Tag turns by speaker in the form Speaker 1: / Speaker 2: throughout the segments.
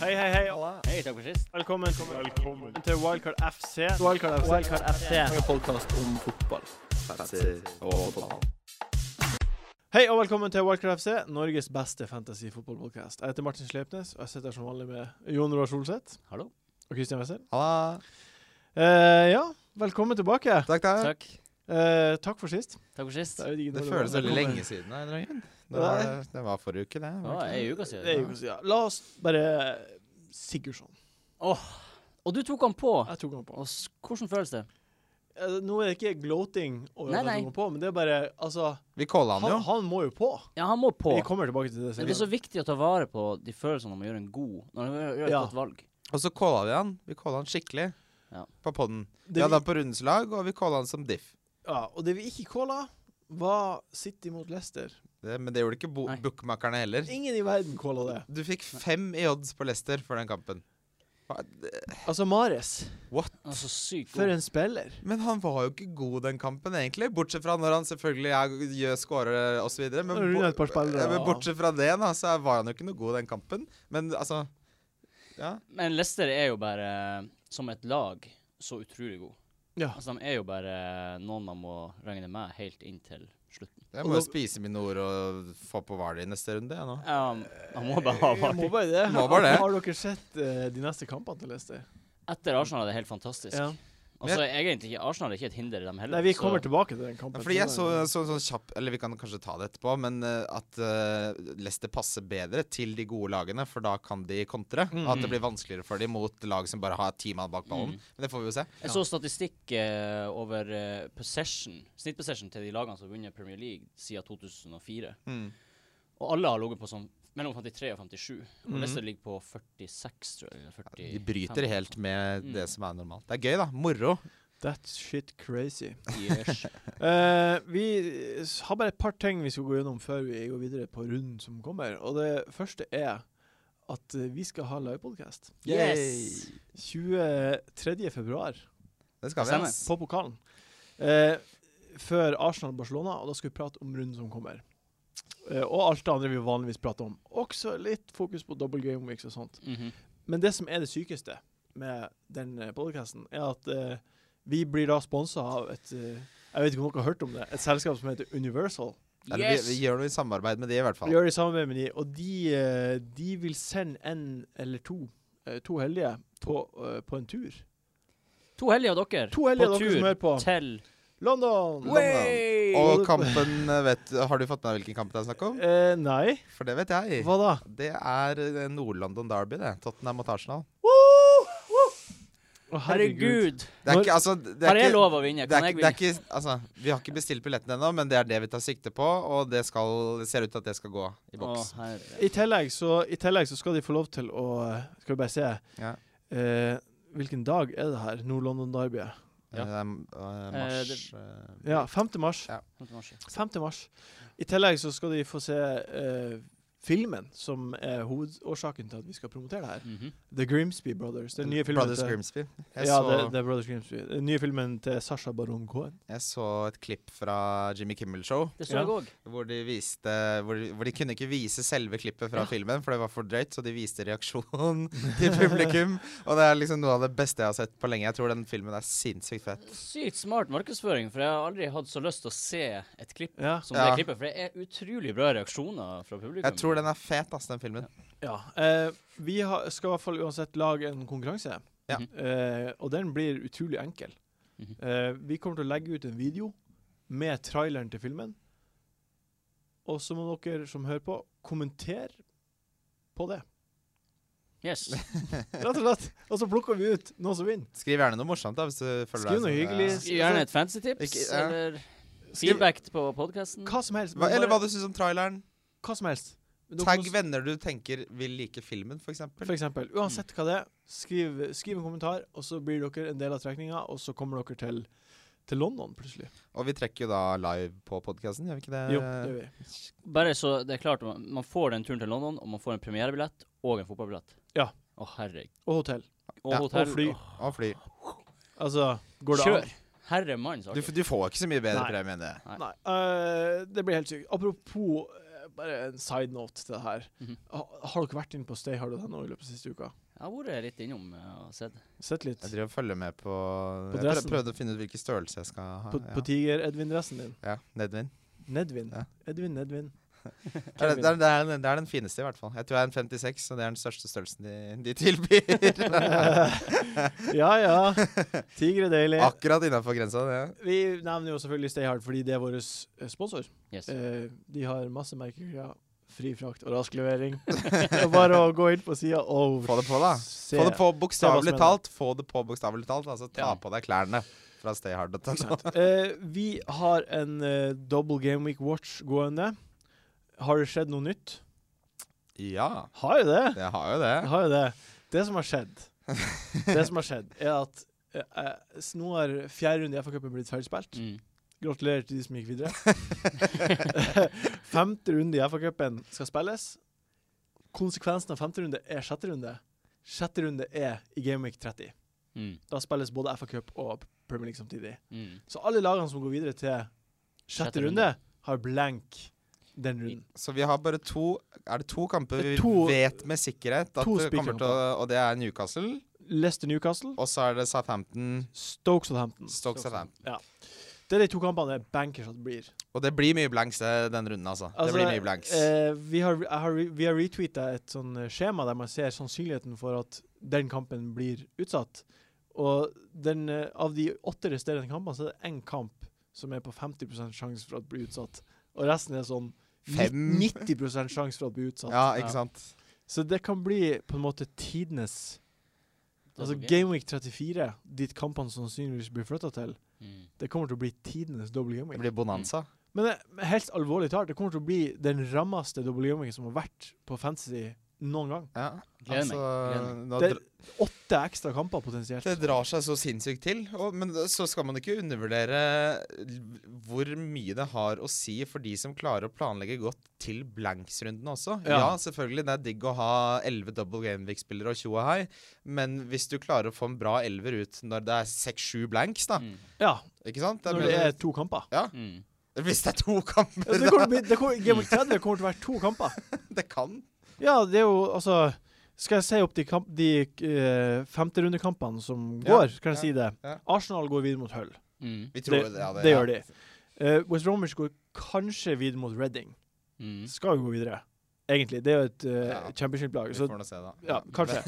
Speaker 1: Hei, hei, hei.
Speaker 2: Hei, takk for sist.
Speaker 1: Velkommen, til Wildcard FC.
Speaker 3: Wildcard FC.
Speaker 2: Wildcard FC.
Speaker 3: En podkast om fotball.
Speaker 1: Hei og velkommen til Wildcard FC, Norges beste fantasy-fotballpodkast. Jeg heter Martin Slepnes, og jeg sitter her som vanlig med Jon Roar Solseth
Speaker 2: Hallo.
Speaker 1: og Christian Wessel.
Speaker 4: Halla.
Speaker 1: Eh, ja, velkommen tilbake.
Speaker 4: Takk, takk.
Speaker 2: Takk.
Speaker 1: Eh, takk for sist.
Speaker 2: Takk for sist.
Speaker 1: Det, er jo ikke
Speaker 4: Det
Speaker 1: dårlig
Speaker 4: føles
Speaker 1: bra.
Speaker 4: veldig
Speaker 1: Velkommen.
Speaker 4: lenge siden. av en eller annen grunn. Det
Speaker 1: Ja.
Speaker 4: var, det var forrige uke, det.
Speaker 2: Det
Speaker 4: var
Speaker 2: var
Speaker 4: det ikke?
Speaker 2: ei uke siden.
Speaker 1: Det er jo ikke så- ja. La oss bare Sigurdsson.
Speaker 2: Og du tok han på.
Speaker 1: Jeg tok han
Speaker 2: Og
Speaker 1: på.
Speaker 2: s- hvordan føles det?
Speaker 1: Eh, Nå er det ikke gloating over
Speaker 2: Nei,
Speaker 1: at
Speaker 2: nei.
Speaker 1: han tok han på, men det er bare Altså,
Speaker 4: Vi calla han jo.
Speaker 1: han, han må jo på.
Speaker 2: Ja, han må på.
Speaker 1: Vi kommer tilbake til det
Speaker 2: Men det er
Speaker 1: senere.
Speaker 2: så viktig å ta vare på de følelsene når man gjør en god Når man gjør et
Speaker 1: Ja.
Speaker 2: godt valg.
Speaker 4: Og så calla vi han. Vi calla han skikkelig
Speaker 2: Ja.
Speaker 4: på poden.
Speaker 1: Det
Speaker 4: Ja,
Speaker 1: vi-
Speaker 4: da på rundens lag, og vi calla han som diff.
Speaker 1: Ja, og det vi ikke calla, var City mot Leicester.
Speaker 4: Det, men det gjorde ikke bo
Speaker 2: Nei.
Speaker 4: bookmakerne heller.
Speaker 1: Ingen i verden calla det.
Speaker 4: Du fikk fem i odds på Leicester for den kampen. Hva- det-
Speaker 1: Altså, Mares,
Speaker 4: What?
Speaker 2: Han er så sykt
Speaker 1: for
Speaker 2: god.
Speaker 1: en spiller.
Speaker 4: Men han var jo ikke god den kampen, egentlig. Bortsett fra når han selvfølgelig er- gjør scorer osv. Men,
Speaker 1: Nå ruller jeg et par spillere,
Speaker 4: ja, men
Speaker 1: da.
Speaker 4: bortsett fra det, da, så var han jo ikke noe god den kampen. Men altså Ja.
Speaker 2: Men Leicester er jo bare, som et lag, så utrolig god.
Speaker 1: Ja.
Speaker 2: Altså, De er jo bare noen man må regne med helt inn til slutten.
Speaker 4: Jeg
Speaker 1: Og
Speaker 4: må jo
Speaker 1: da-
Speaker 4: spise mine ord og få på Hvaler i neste runde, jeg nå.
Speaker 2: Ja, han må bare ha
Speaker 1: Jeg må
Speaker 2: Vardy.
Speaker 1: bare det.
Speaker 4: Må bare det.
Speaker 1: Har dere sett eh, de neste kampene til Leicester?
Speaker 2: Etter Arsenal er altså. det helt fantastisk.
Speaker 1: Ja.
Speaker 2: Altså, egentlig ikke, Arsenal er ikke et hinder, dem heller.
Speaker 1: Nei, vi
Speaker 2: så-
Speaker 1: kommer tilbake til den
Speaker 4: Ja,
Speaker 1: kampen.
Speaker 4: Fordi jeg så så- sånn kjapp Eller vi kan kanskje ta det etterpå, men eh, at eh, Leicester passer bedre til de gode lagene, for da kan de kontre. Og at det blir vanskeligere for dem mot lag som bare har ti mann bak ballen.
Speaker 2: Mm.
Speaker 4: Men det får vi jo se.
Speaker 2: Jeg så statistikk eh, over eh, possession, snittpossession til de lagene som har vunnet Premier League siden 2004.
Speaker 4: Mm.
Speaker 2: Og alle har ligget på sånn mellom 53 og 57. Og Leicester ligger på 46, tror jeg. Eller 40,
Speaker 4: Mhm. De bryter helt med det
Speaker 2: Mm.
Speaker 4: som er normalt. Det er gøy, da. Moro.
Speaker 1: That shit crazy.
Speaker 2: Yes.
Speaker 1: Eh, vi s- har bare et par ting vi skal gå gjennom før vi går videre på runden som kommer. Og det første er at eh, vi skal ha livepodkast.
Speaker 2: yes.
Speaker 1: 23. februar
Speaker 4: Det skal vi.
Speaker 2: Stemmer.
Speaker 4: ass.
Speaker 1: på pokalen. Eh, før Arsenal-Barcelona, og da skal vi prate om runden som kommer. Eh, og alt det andre vi vanligvis prater om. Også litt fokus på double game weeks og sånt.
Speaker 2: Mhm.
Speaker 1: Men det som er det sykeste med den podkasten, er at eh, vi blir da sponsa av et eh, Jeg vet ikke om dere har hørt om det? Et selskap som heter Universal.
Speaker 4: Eller
Speaker 2: yes.
Speaker 4: vi, vi gjør noe i samarbeid med de, i hvert
Speaker 1: Vi
Speaker 4: fall.
Speaker 1: gjør det i samarbeid med de, og de, eh, de vil sende en eller to, eh, to heldige, på, eh, på en tur.
Speaker 2: To hellige av dere
Speaker 1: To heldige
Speaker 2: på
Speaker 1: av dere som
Speaker 2: tur
Speaker 1: hører på.
Speaker 2: til
Speaker 1: London!
Speaker 4: Way!
Speaker 2: Way!
Speaker 4: Og kampen eh, vet, Har du fått med deg hvilken kamp det er snakk om?
Speaker 1: Eh, nei,
Speaker 4: For det vet jeg.
Speaker 1: hva da?
Speaker 4: Det er eh, Nord-London Derby, det. Tottenham mot Arsenal.
Speaker 1: Å,
Speaker 2: Herregud.
Speaker 4: Det er
Speaker 1: Når-
Speaker 4: ikke, altså, det
Speaker 2: Har
Speaker 4: er
Speaker 2: jeg
Speaker 4: ikke,
Speaker 2: lov å vinne?
Speaker 4: det
Speaker 2: Kan
Speaker 4: er,
Speaker 2: jeg
Speaker 4: ikke, det er
Speaker 2: vinne?
Speaker 4: ikke, altså, vi har ikke bestilt billetten ennå, men det er det vi tar sikte på. Og det skal, det ser ut til at det skal gå i
Speaker 2: Å,
Speaker 4: boks.
Speaker 2: herre.
Speaker 1: I tillegg, så, I tillegg så skal de få lov til å Skal vi bare se.
Speaker 4: Ja.
Speaker 1: Eh, hvilken dag er det her? Nord-London-derby.
Speaker 2: Ja.
Speaker 4: Eh, m- eh,
Speaker 2: Eh,
Speaker 4: mars
Speaker 2: det-
Speaker 4: eh,
Speaker 1: Ja, 5. mars.
Speaker 4: Ja.
Speaker 1: 5. mars. I tillegg så skal de få se eh, filmen som er hovedårsaken til at vi skal promotere det her.
Speaker 2: Mhm.
Speaker 1: The Grimsby Brothers. Den nye filmen
Speaker 4: Brothers
Speaker 1: til,
Speaker 4: Grimsby. Jeg,
Speaker 1: ja,
Speaker 4: så,
Speaker 1: det, det er Brothers Grimsby. Den nye filmen til Sasha Baron Cohen.
Speaker 4: jeg så et klipp fra Jimmy Kimmel Show,
Speaker 2: Det så
Speaker 1: Ja.
Speaker 2: jeg òg.
Speaker 4: hvor de viste hvor de, hvor de kunne ikke vise selve klippet fra
Speaker 2: Ja.
Speaker 4: filmen, for det var for drøyt, så de viste reaksjonen til publikum. Og det er liksom noe av det beste jeg har sett på lenge. Jeg tror den filmen er sinnssykt fett.
Speaker 2: Sykt smart markedsføring, for jeg har aldri hatt så lyst til å se et klipp
Speaker 1: Ja.
Speaker 2: som
Speaker 4: Ja.
Speaker 2: det klippet, for det er utrolig bra reaksjoner fra publikum.
Speaker 4: Jeg tror den er fet, ass, den filmen.
Speaker 1: ja. Eh, vi har, skal i hvert fall uansett lage en konkurranse,
Speaker 4: Ja.
Speaker 1: eh, og den blir utrolig enkel.
Speaker 2: Mhm.
Speaker 1: eh, vi kommer til å legge ut en video med traileren til filmen, og så må dere som hører på, kommentere på det,
Speaker 2: Yes.
Speaker 1: rett og slett. Og så plukker vi ut noen som vinner.
Speaker 4: Skriv gjerne noe morsomt, da, hvis du føler
Speaker 1: Skriv noe
Speaker 4: deg sånn,
Speaker 1: hyggelig.
Speaker 4: ja.
Speaker 2: Skriv Gjerne et fancy tips,
Speaker 4: Ikke- ja.
Speaker 2: eller
Speaker 1: Skriv
Speaker 2: feedback på podkasten.
Speaker 1: hva som helst.
Speaker 4: Hva,
Speaker 1: men
Speaker 4: eller hva
Speaker 1: bare
Speaker 4: du syns om traileren.
Speaker 1: hva som helst. Men dere må
Speaker 4: Tagg
Speaker 1: s-
Speaker 4: venner du tenker vil like filmen, f.eks.
Speaker 1: For eksempel, uansett hva det er, skriv, skriv en kommentar, og så blir dere en del av trekninga, og så kommer dere til, til London plutselig.
Speaker 4: Og vi trekker jo da live på podkasten, gjør vi ikke det?
Speaker 1: Jo, det gjør vi.
Speaker 2: Bare så det er klart, man man får den turen til London, og man får en premierebillett og en fotballbillett.
Speaker 1: Ja.
Speaker 2: Å, herregud.
Speaker 1: Og hotell.
Speaker 2: Og
Speaker 4: Ja, og
Speaker 2: hotell.
Speaker 1: fly.
Speaker 2: Åh,
Speaker 4: Og fly.
Speaker 1: Altså, går det
Speaker 2: Kjør!
Speaker 1: an?
Speaker 2: Herre altså. mann,
Speaker 4: Du,
Speaker 2: saken.
Speaker 4: du får ikke så mye bedre
Speaker 1: Nei.
Speaker 4: premie enn det.
Speaker 1: Nei. eh, det blir helt sykt. Apropos eh, bare en side note til det her.
Speaker 2: Mhm.
Speaker 1: Ha- Har dere vært inne på stayhard.no i løpet av siste uka?
Speaker 2: Jeg har vært litt innom eh, og sett.
Speaker 1: Sett litt
Speaker 4: Jeg driver og følger med på,
Speaker 1: På
Speaker 4: Jeg prøv-
Speaker 1: dressen.
Speaker 4: prøvde å finne ut hvilken størrelse jeg skal ha.
Speaker 1: på, på Tiger-Edvin-dressen din.
Speaker 4: ja. ja, Nedvin.
Speaker 1: Nedvin.
Speaker 4: Ja.
Speaker 1: Edvin, Nedvin.
Speaker 4: Det er, det, er, det, er, det er den fineste, i hvert fall. Jeg tror jeg er en 56, og det er den største størrelsen de, de tilbyr.
Speaker 1: Eh, ja ja. Tiger er deilig.
Speaker 4: Akkurat innafor grensa, det.
Speaker 1: Vi nevner jo selvfølgelig Stay Hard fordi det er vår sponsor.
Speaker 2: Yes.
Speaker 1: Eh, de har masse merkeklær, fri frakt og rask levering. Det er bare å gå inn på sida og
Speaker 4: Få det på, da.
Speaker 1: se.
Speaker 4: Få det på
Speaker 1: som
Speaker 4: bokstavelig
Speaker 1: hender.
Speaker 4: talt. Få det på bokstavelig talt. Altså ta
Speaker 2: Ja.
Speaker 4: på deg klærne fra
Speaker 1: Ikke
Speaker 4: stayhard.no.
Speaker 1: sant. Eh, vi har en eh, double game week watch gående. Har det skjedd noe nytt?
Speaker 4: Ja,
Speaker 1: Har jo det.
Speaker 4: jeg har jo det.
Speaker 1: Jeg har jo det. Det som har skjedd, Det som har skjedd er at eh, eh, s- nå har fjerde runde i FA-cupen blitt ferdigspilt.
Speaker 2: Mm.
Speaker 1: Gratulerer til de som gikk videre. femte runde i FA-cupen skal spilles. Konsekvensen av femte runde er sjette runde. Sjette runde er i Game Week 30.
Speaker 2: Mm.
Speaker 1: Da spilles både FA-cup og Premier League samtidig.
Speaker 2: Mm.
Speaker 1: Så alle lagene som går videre til sjette
Speaker 2: Sjette
Speaker 1: runde, har blank den runden.
Speaker 4: Så vi har bare to Er det to kamper vi
Speaker 1: To-
Speaker 4: vet med sikkerhet at
Speaker 1: to
Speaker 4: det kommer til å Og det er Newcastle,
Speaker 1: Leicester Newcastle,
Speaker 4: og så er det Southampton,
Speaker 1: Stoke Southampton.
Speaker 4: Stoke Southampton.
Speaker 1: Det er de to kampene det er bankers at det blir.
Speaker 4: Og det blir mye blanks eh, den runden, altså.
Speaker 1: Altså,
Speaker 4: det blir mye blanks.
Speaker 1: Eh, vi har, jeg har, re- vi har retweeta et sånn eh, skjema der man ser sannsynligheten for at den kampen blir utsatt. Og den, eh, av de åtte resterende kampene, så er det én kamp som er på 50 sjanse for at blir utsatt. Og resten er sånn ni-
Speaker 4: Fem.
Speaker 1: 90 sjanse for at blir utsatt.
Speaker 4: ja, ikke sant?
Speaker 1: Så det kan bli på en måte tidenes
Speaker 2: Det er
Speaker 1: Altså
Speaker 2: så gøy.
Speaker 1: Game Week 34, dit kampene sannsynligvis blir flytta til,
Speaker 2: Mm.
Speaker 1: det kommer til å bli tidenes double game
Speaker 4: Det
Speaker 1: week.
Speaker 4: blir bonanza.
Speaker 1: Men det, men helt alvorlig talt, det kommer til å bli den rammeste dobbeltjobbingen som har vært på fantasy noen gang.
Speaker 4: Ja. altså,
Speaker 2: Gleder meg. Gleder
Speaker 4: nå
Speaker 1: Det
Speaker 4: dr-
Speaker 1: er åtte ekstra kamper potensielt.
Speaker 4: Det drar seg så sinnssykt til. Og, men det- så skal man ikke undervurdere hvor mye det har å si for de som klarer å planlegge godt til blanks-rundene også. Ja.
Speaker 1: Ja.
Speaker 4: selvfølgelig, det er digg å ha 11 double gameweek-spillere og tjo og hei, men hvis du klarer å få en bra elver ut når det er 6-7 blanks, da,
Speaker 2: Mm.
Speaker 1: Ja,
Speaker 4: ikke sant? Det er
Speaker 1: når det
Speaker 4: mye-
Speaker 1: er to kamper.
Speaker 2: Mm.
Speaker 4: hvis det er to kamper,
Speaker 1: Ja, det kommer, til å bli- det kommer, Game Week 30 kommer til å være to kamper.
Speaker 4: da! Det kan.
Speaker 1: Ja, det er jo altså Skal jeg si opp de, kamp, de eh, femterundekampene som
Speaker 4: Ja,
Speaker 1: går? Kan jeg
Speaker 4: ja,
Speaker 1: si det?
Speaker 4: ja.
Speaker 1: Arsenal går videre mot Hull.
Speaker 2: Mm.
Speaker 4: Vi
Speaker 1: Det,
Speaker 4: tror ja,
Speaker 1: det gjør de. Eh, West Bromwich går kanskje videre mot Reading.
Speaker 2: Mm.
Speaker 1: Skal jo gå videre, egentlig. Det er jo et eh,
Speaker 4: Ja.
Speaker 1: championship-lag.
Speaker 4: Vi
Speaker 1: Så
Speaker 4: får nå se, da.
Speaker 1: ja, kanskje.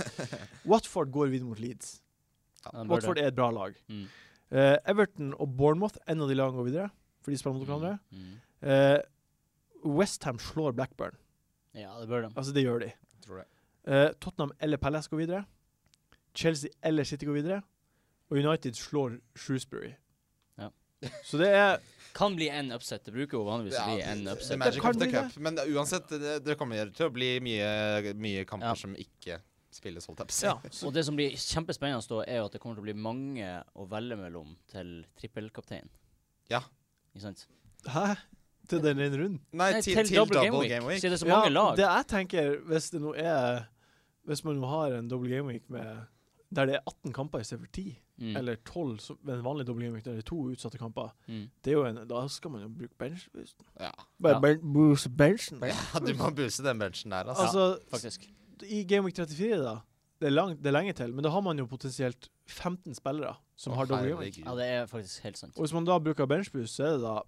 Speaker 1: Watford går videre mot Leeds.
Speaker 2: Ja, den bør
Speaker 1: Watford
Speaker 2: det.
Speaker 1: er et bra lag.
Speaker 2: Mm.
Speaker 1: Eh, Everton og Bournemouth, en av de lagene går videre. For de spiller mot hverandre.
Speaker 2: Mm.
Speaker 1: Uh, Westham slår Blackburn.
Speaker 2: Ja, det bør de.
Speaker 1: Altså, det gjør de.
Speaker 4: Tror det.
Speaker 1: Eh, Tottenham eller Palace går videre. Chelsea eller City går videre. Og United slår Shrewsbury.
Speaker 2: Ja.
Speaker 1: Så det er
Speaker 2: Kan bli en upset. Det bruker jo vanligvis å
Speaker 4: Ja,
Speaker 2: bli en
Speaker 4: det-
Speaker 2: upset.
Speaker 4: The Magic
Speaker 1: kan
Speaker 4: of the
Speaker 1: bli
Speaker 4: Cup. Men uansett, det, det kommer til å bli mye, mye kamper
Speaker 2: Ja.
Speaker 4: som ikke spilles, holdt jeg på å si.
Speaker 1: Ja.
Speaker 2: Og det som blir kjempespennende da, er jo at det kommer til å bli mange å velge mellom til trippelkaptein.
Speaker 4: Ja.
Speaker 2: Ikke sant?
Speaker 1: Hæ? Til den ene runden?
Speaker 4: Nei,
Speaker 2: Nei,
Speaker 4: til, til, double, game week.
Speaker 2: Siden det er så mange lag.
Speaker 1: Det jeg tenker, hvis det nå er Hvis man nå har en double game week med der det er 18 kamper istedenfor 10,
Speaker 2: Mm.
Speaker 1: eller 12 som- med en vanlig double game week der det er to utsatte kamper,
Speaker 2: Mm.
Speaker 1: det er jo en, da skal man jo bruke bench.
Speaker 4: Ja.
Speaker 1: Bare
Speaker 2: Ja.
Speaker 1: ben Bruce benchen.
Speaker 4: ja, du må buse den benchen der, altså.
Speaker 1: Altså,
Speaker 2: Faktisk.
Speaker 1: I Game Week 34, da det er, langt, det er lenge til, men da har man jo potensielt 15 spillere som
Speaker 4: Å,
Speaker 1: har double game week.
Speaker 4: herregud.
Speaker 2: Ja, det er faktisk helt sant.
Speaker 1: Og hvis man da bruker benchboost, så er det da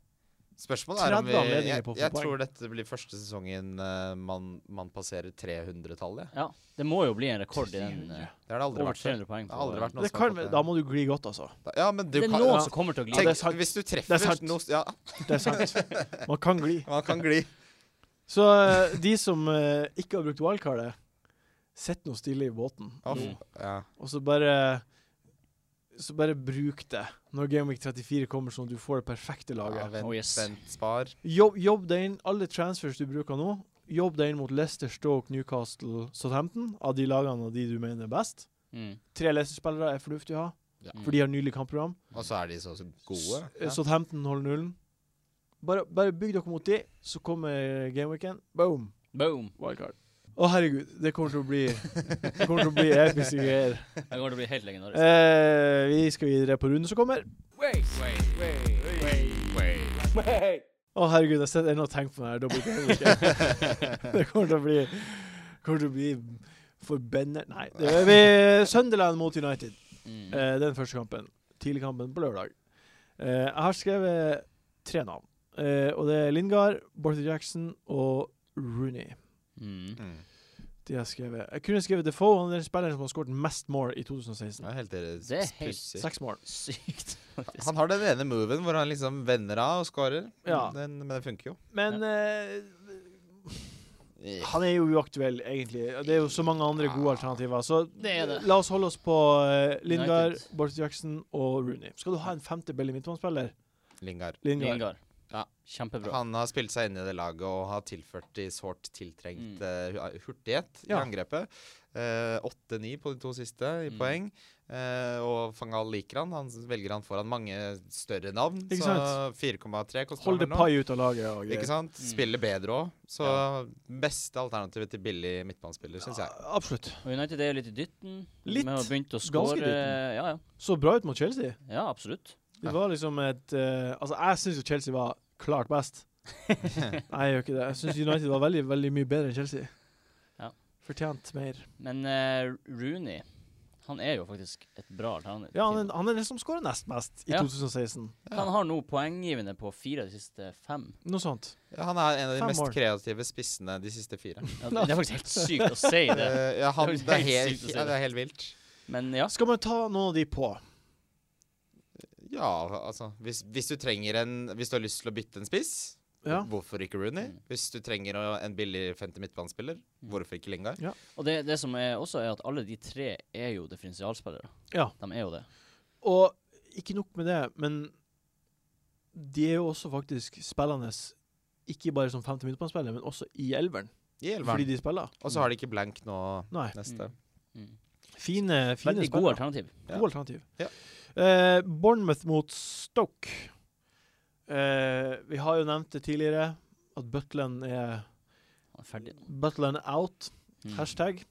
Speaker 4: Spørsmålet er
Speaker 1: 30
Speaker 4: om vi Jeg,
Speaker 1: anledninger på å få
Speaker 4: jeg
Speaker 1: poeng.
Speaker 4: tror dette blir første sesongen eh, man, man passerer 300-tallet.
Speaker 2: Ja, det må jo bli en rekord i den. eh,
Speaker 4: Det har det aldri
Speaker 2: Over
Speaker 4: vært før.
Speaker 2: 300 poeng.
Speaker 4: Det har aldri vært noen
Speaker 1: det
Speaker 4: som har
Speaker 1: kan,
Speaker 4: fått
Speaker 1: Da må du gli godt, altså.
Speaker 4: det. Ja, men du
Speaker 2: Det er
Speaker 4: kan altså,
Speaker 1: ja.
Speaker 2: noen som kommer til å
Speaker 1: Ja,
Speaker 2: glide.
Speaker 1: det er
Speaker 4: Tenk,
Speaker 1: sant.
Speaker 4: hvis du
Speaker 1: Det er
Speaker 4: treffer
Speaker 1: sant.
Speaker 4: noe Ja,
Speaker 1: Det er sant. Man kan gli.
Speaker 4: man kan gli.
Speaker 1: Så eh, de som eh, ikke har brukt wildcardet, sitt nå stille i båten.
Speaker 4: Å, f-
Speaker 2: Mm.
Speaker 4: ja.
Speaker 1: Og så bare Så bare bruk det når Game Week 34 kommer, sånn at du får det perfekte
Speaker 4: ja,
Speaker 1: laget.
Speaker 4: vent,
Speaker 2: Oh, yes.
Speaker 4: vent, spar.
Speaker 1: Jobb, jobb deg inn alle transfers du bruker nå. Jobb deg inn mot Leicester, Stoke, Newcastle, Southampton. Av de lagene og de du mener er best.
Speaker 2: Mm.
Speaker 1: Tre Leicester-spillere er fornuftig å ha,
Speaker 2: Mm.
Speaker 1: for de har nylig kampprogram.
Speaker 4: Og så er de så gode.
Speaker 1: S- eh,
Speaker 4: Ja.
Speaker 1: Southampton holder nullen. Bare, bare bygg dere mot de, så kommer gameweeken. Boom!
Speaker 2: Boom!
Speaker 1: Wildcard. Å, herregud. Det kommer til å bli Det kommer til å bli episke greier.
Speaker 2: Det kommer til å bli helt legendarisk.
Speaker 1: Eh, vi skal videre på runden som kommer.
Speaker 2: Wait, wait, wait, wait, wait.
Speaker 1: Å, Å, herregud, jeg sitter ennå og tenker på den her double game. det kommer til å bli kommer til å bli forbanna Nei. Det er vi, Sunderland mot United.
Speaker 2: Mm.
Speaker 1: Eh, den første kampen. Tidligkampen på lørdag. Eh, jeg har skrevet tre navn. Eh, og det er Lingard, Borthie Jackson og Rooney.
Speaker 2: Mm.
Speaker 4: Mm.
Speaker 1: De har skrevet. Jeg kunne skrevet Defoe, han er den spilleren som har skåret mest more i 2016.
Speaker 4: Det er helt
Speaker 2: Det er helt
Speaker 4: pussig.
Speaker 1: Seks mål.
Speaker 2: Sykt, faktisk.
Speaker 4: Han har den ene moven hvor han liksom vender av og scorer.
Speaker 1: Ja.
Speaker 4: Den, men det funker jo.
Speaker 1: Men eh, han er jo uaktuell, egentlig. Det er jo så mange andre gode alternativer. Så
Speaker 2: Det er det.
Speaker 1: la oss holde oss på eh, Lingard,
Speaker 2: United.
Speaker 1: Borthie Jackson og Rooney. Skal du ha en femte Belly midtbanespiller?
Speaker 4: Lingard.
Speaker 1: Lingard.
Speaker 2: Lingard.
Speaker 4: Ja.
Speaker 2: Kjempebra.
Speaker 4: Han har spilt seg inn i det laget og har tilført de sårt tiltrengt
Speaker 2: Mm.
Speaker 4: eh, hu- hurtighet i
Speaker 1: Ja.
Speaker 4: angrepet. Eh, 8-9 på de to siste i
Speaker 2: Mm.
Speaker 4: poeng. Eh, og Fangal liker han. Han s- velger han foran mange større navn.
Speaker 1: Ikke
Speaker 4: så 4,3 koster
Speaker 1: Hold det
Speaker 4: han vel nå.
Speaker 1: pai ut av laget. Og
Speaker 4: Ikke
Speaker 1: greier.
Speaker 4: sant?
Speaker 2: Mm.
Speaker 4: Spiller bedre òg. Så
Speaker 2: Ja.
Speaker 4: beste alternativet til billig midtbanespiller, syns jeg.
Speaker 1: Ja, Ah, absolutt.
Speaker 2: Og United er jo litt i dytten.
Speaker 1: Litt.
Speaker 2: Med å begynt å
Speaker 1: Ganske
Speaker 2: score.
Speaker 1: dytten.
Speaker 2: Ja, ja.
Speaker 1: Så bra ut mot Chelsea.
Speaker 2: ja, absolutt.
Speaker 1: Det
Speaker 4: Ja.
Speaker 1: var liksom et eh, Altså, jeg syns jo Chelsea var klart best. Nei, jeg gjør ikke det. Jeg syns United var veldig, veldig mye bedre enn Chelsea.
Speaker 2: Ja.
Speaker 1: Fortjent mer.
Speaker 2: Men eh, Rooney, han er jo faktisk et bra alternativ.
Speaker 1: Ja, han er, han er den som skårer nest mest i
Speaker 2: Ja.
Speaker 1: 2016.
Speaker 2: Han har nå poenggivende på fire av de siste fem.
Speaker 1: Noe sånt.
Speaker 4: Ja, han er en av de
Speaker 1: Fem
Speaker 4: mest
Speaker 1: mål.
Speaker 4: kreative spissene de siste fire.
Speaker 2: Ja, det det er faktisk helt sykt å si det.
Speaker 4: Eh, ja, han,
Speaker 2: Det er
Speaker 4: det, er
Speaker 2: helt
Speaker 4: helt,
Speaker 2: sykt å se
Speaker 4: ja,
Speaker 2: det.
Speaker 4: det er helt vilt.
Speaker 2: Men ja.
Speaker 1: Skal man ta noen av de på?
Speaker 4: Ja, altså hvis, hvis du trenger en Hvis du har lyst til å bytte en spiss,
Speaker 1: Ja.
Speaker 4: hvorfor ikke Rooney?
Speaker 2: Mm.
Speaker 4: Hvis du trenger å- en billig 50 midtbanespiller, hvorfor ikke Lingard?
Speaker 2: Og det, det som er også er at alle de tre er jo differensialspillere.
Speaker 1: Ja.
Speaker 2: De er jo det.
Speaker 1: Og ikke nok med det, men de er jo også faktisk spillende ikke bare som femte midtbanespiller, men også i elveren.
Speaker 4: I
Speaker 1: Fordi
Speaker 4: elveren.
Speaker 1: de spiller.
Speaker 4: Og så har de ikke blank nå
Speaker 1: Nei.
Speaker 4: neste.
Speaker 2: Mm.
Speaker 1: Fine, fine
Speaker 2: Veldig
Speaker 1: spillere.
Speaker 2: gode alternativ.
Speaker 4: Ja.
Speaker 1: God alternativ.
Speaker 4: Ja.
Speaker 1: Eh, Bournemouth mot Stoke. Eh, vi har jo nevnt det tidligere, at Butland er
Speaker 2: Han er ferdig.
Speaker 1: Butland er out.
Speaker 2: Mm.
Speaker 1: Hashtag.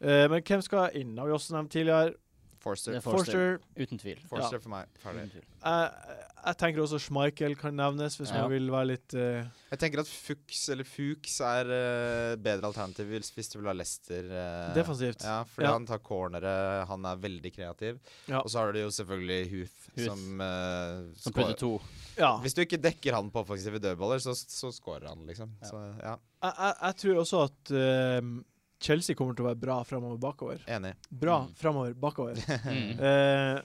Speaker 1: Eh, men hvem skal inn? Har vi også nevnt tidligere.
Speaker 4: Forster.
Speaker 2: Det er Mm.
Speaker 1: Forster.
Speaker 2: Uten tvil.
Speaker 4: Forster for meg. Ferdig.
Speaker 2: Uten tvil.
Speaker 1: Jeg, jeg tenker også Schmeichel kan nevnes, hvis
Speaker 2: Ja.
Speaker 1: man vil være litt eh,
Speaker 4: Jeg tenker at Fuchs eller Fuchs er eh, bedre alternativ hvis, hvis du vil ha Lester. eh,
Speaker 1: defensivt.
Speaker 4: Ja, fordi
Speaker 1: Ja.
Speaker 4: han tar cornere, han er veldig kreativ.
Speaker 1: Ja.
Speaker 4: Og så har du jo selvfølgelig Huth,
Speaker 2: Huth.
Speaker 4: som eh, scorer.
Speaker 2: Som putter to.
Speaker 1: Ja.
Speaker 4: Hvis du ikke dekker han på offensive dødballer, så, så scorer han, liksom.
Speaker 2: Ja.
Speaker 4: Så ja,
Speaker 1: jeg, jeg, jeg tror også at ehm, Chelsea kommer til å være bra framover bakover.
Speaker 4: enig.
Speaker 1: Bra
Speaker 2: Mm.
Speaker 1: fremover bakover.
Speaker 2: Mm.
Speaker 1: Eh,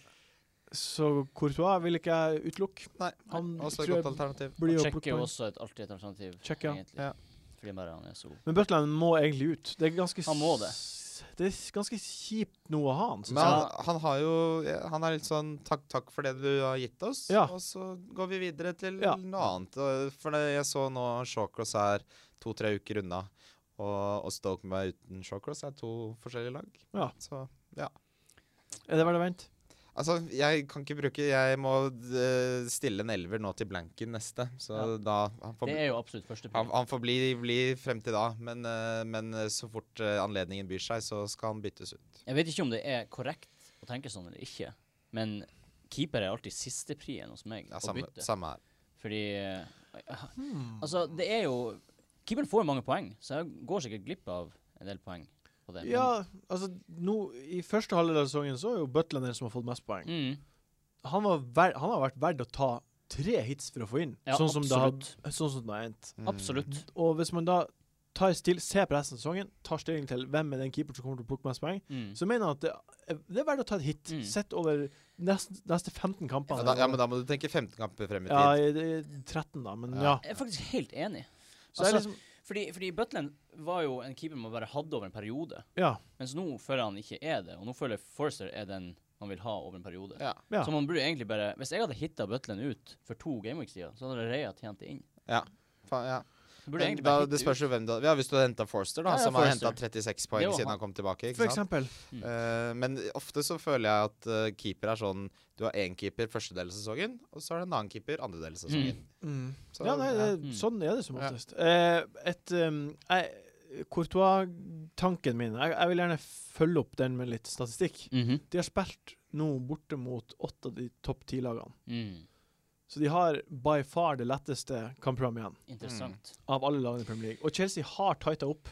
Speaker 1: så Courtois vil ikke jeg utelukke.
Speaker 4: Nei,
Speaker 1: Han
Speaker 4: også et
Speaker 1: Mm. tror jeg
Speaker 4: godt alternativ.
Speaker 1: blir jo
Speaker 2: Og Check
Speaker 1: plukket
Speaker 2: er jo
Speaker 1: poeng.
Speaker 2: også et, alltid et alternativ.
Speaker 1: Check, ja.
Speaker 2: egentlig.
Speaker 4: Ja.
Speaker 2: Fordi bare han er så god.
Speaker 1: Men Butland må egentlig ut. Det er ganske
Speaker 2: Han må det.
Speaker 1: s- det er s- ganske kjipt nå å ha han.
Speaker 4: Men
Speaker 1: synes jeg.
Speaker 4: han, han har jo ja, Han er litt sånn takk, takk for det du har gitt oss,
Speaker 1: Ja.
Speaker 4: og så går vi videre til
Speaker 1: Ja.
Speaker 4: noe annet. Og For det, jeg så nå Shawcross er to-tre uker unna, og, og Stoke med uten Shawcross er to forskjellige lag.
Speaker 1: Ja.
Speaker 4: Så
Speaker 1: Er det verdt å vente?
Speaker 4: Altså, jeg kan ikke bruke Jeg må eh, stille en elver nå til blanken neste, så
Speaker 2: Ja.
Speaker 4: da han får,
Speaker 2: Det er jo absolutt første
Speaker 4: han,
Speaker 2: pris.
Speaker 4: han får bli, bli frem til da, men, eh, men eh, så fort eh, anledningen byr seg, så skal han byttes ut.
Speaker 2: Jeg vet ikke om det er korrekt å tenke sånn eller ikke, men keeper er alltid sisteprien hos meg
Speaker 4: Ja,
Speaker 2: å
Speaker 4: samme,
Speaker 2: bytte.
Speaker 4: samme her.
Speaker 2: Fordi eh, Altså, det er jo Keeperen får mange poeng, så jeg går sikkert glipp av en del poeng på det.
Speaker 1: Ja, altså nå, I første halvdel av sesongen så er jo Butland den som har fått mest poeng.
Speaker 2: Mm.
Speaker 1: Han, var ver han har vært verdt å ta tre hits for å få inn,
Speaker 2: Ja,
Speaker 1: sånn, som det har,
Speaker 2: absolutt.
Speaker 1: sånn som det har endt.
Speaker 4: Mm.
Speaker 2: Absolutt.
Speaker 1: Og hvis man da tar still, ser på resten av sesongen, tar stilling til hvem er den keeper som kommer til å plukke mest poeng,
Speaker 2: Mm.
Speaker 1: så mener jeg at det, er- det er verdt å ta et hit.
Speaker 2: Mm.
Speaker 1: Sett over neste, neste 15
Speaker 4: Ja,
Speaker 1: kampene.
Speaker 4: da, ja, men da må du tenke 15 kamper frem i
Speaker 1: Ja,
Speaker 4: tid.
Speaker 1: i- i 13, da, men
Speaker 4: Ja.
Speaker 1: ja.
Speaker 2: Jeg er faktisk helt enig.
Speaker 1: Så det er
Speaker 2: Altså-
Speaker 1: liksom
Speaker 2: Fordi, fordi Butland var jo en keeper man bare hadde over en periode.
Speaker 1: Ja.
Speaker 2: Mens nå føler jeg han ikke er det, og nå føler jeg Forster er den man vil ha over en periode.
Speaker 4: Ja.
Speaker 1: Ja.
Speaker 2: Så man burde egentlig bare Hvis jeg hadde hitta Butland ut for to gameweeks siden, så hadde Reia tjent det inn.
Speaker 4: Fa- ja.
Speaker 2: Så burde jeg
Speaker 4: Men
Speaker 2: egentlig
Speaker 4: da,
Speaker 2: bare
Speaker 4: det
Speaker 2: hitte
Speaker 4: spørs jo hvem du Ja, Hvis du hadde henta Forster, da,
Speaker 2: Ja, ja,
Speaker 4: som har
Speaker 2: Forster.
Speaker 4: henta 36
Speaker 2: Det
Speaker 4: poeng siden
Speaker 2: var
Speaker 4: han
Speaker 2: han.
Speaker 4: kom tilbake.
Speaker 1: For
Speaker 4: Ikke sant?
Speaker 1: eksempel.
Speaker 4: Eh, men ofte så føler jeg at eh, keeper er sånn Du har én keeper første del av sesongen, og så er det en annen keeper andre del av sesongen.
Speaker 1: Mm.
Speaker 4: Så,
Speaker 1: ja, nei, det,
Speaker 4: ja.
Speaker 2: Mm.
Speaker 1: sånn er det som
Speaker 4: Ja.
Speaker 1: oftest. Eh, et um, jeg- Courtois-tanken min jeg, jeg vil gjerne følge opp den med litt statistikk.
Speaker 2: ut. Mhm.
Speaker 1: De har spilt nå borte mot åtte av de topp ti-lagene.
Speaker 2: Mm.
Speaker 1: Så de har by far det letteste kampprogrammet igjen
Speaker 2: Interessant.
Speaker 4: Mm.
Speaker 1: av alle lagene i Premier League. Og Chelsea har tighta opp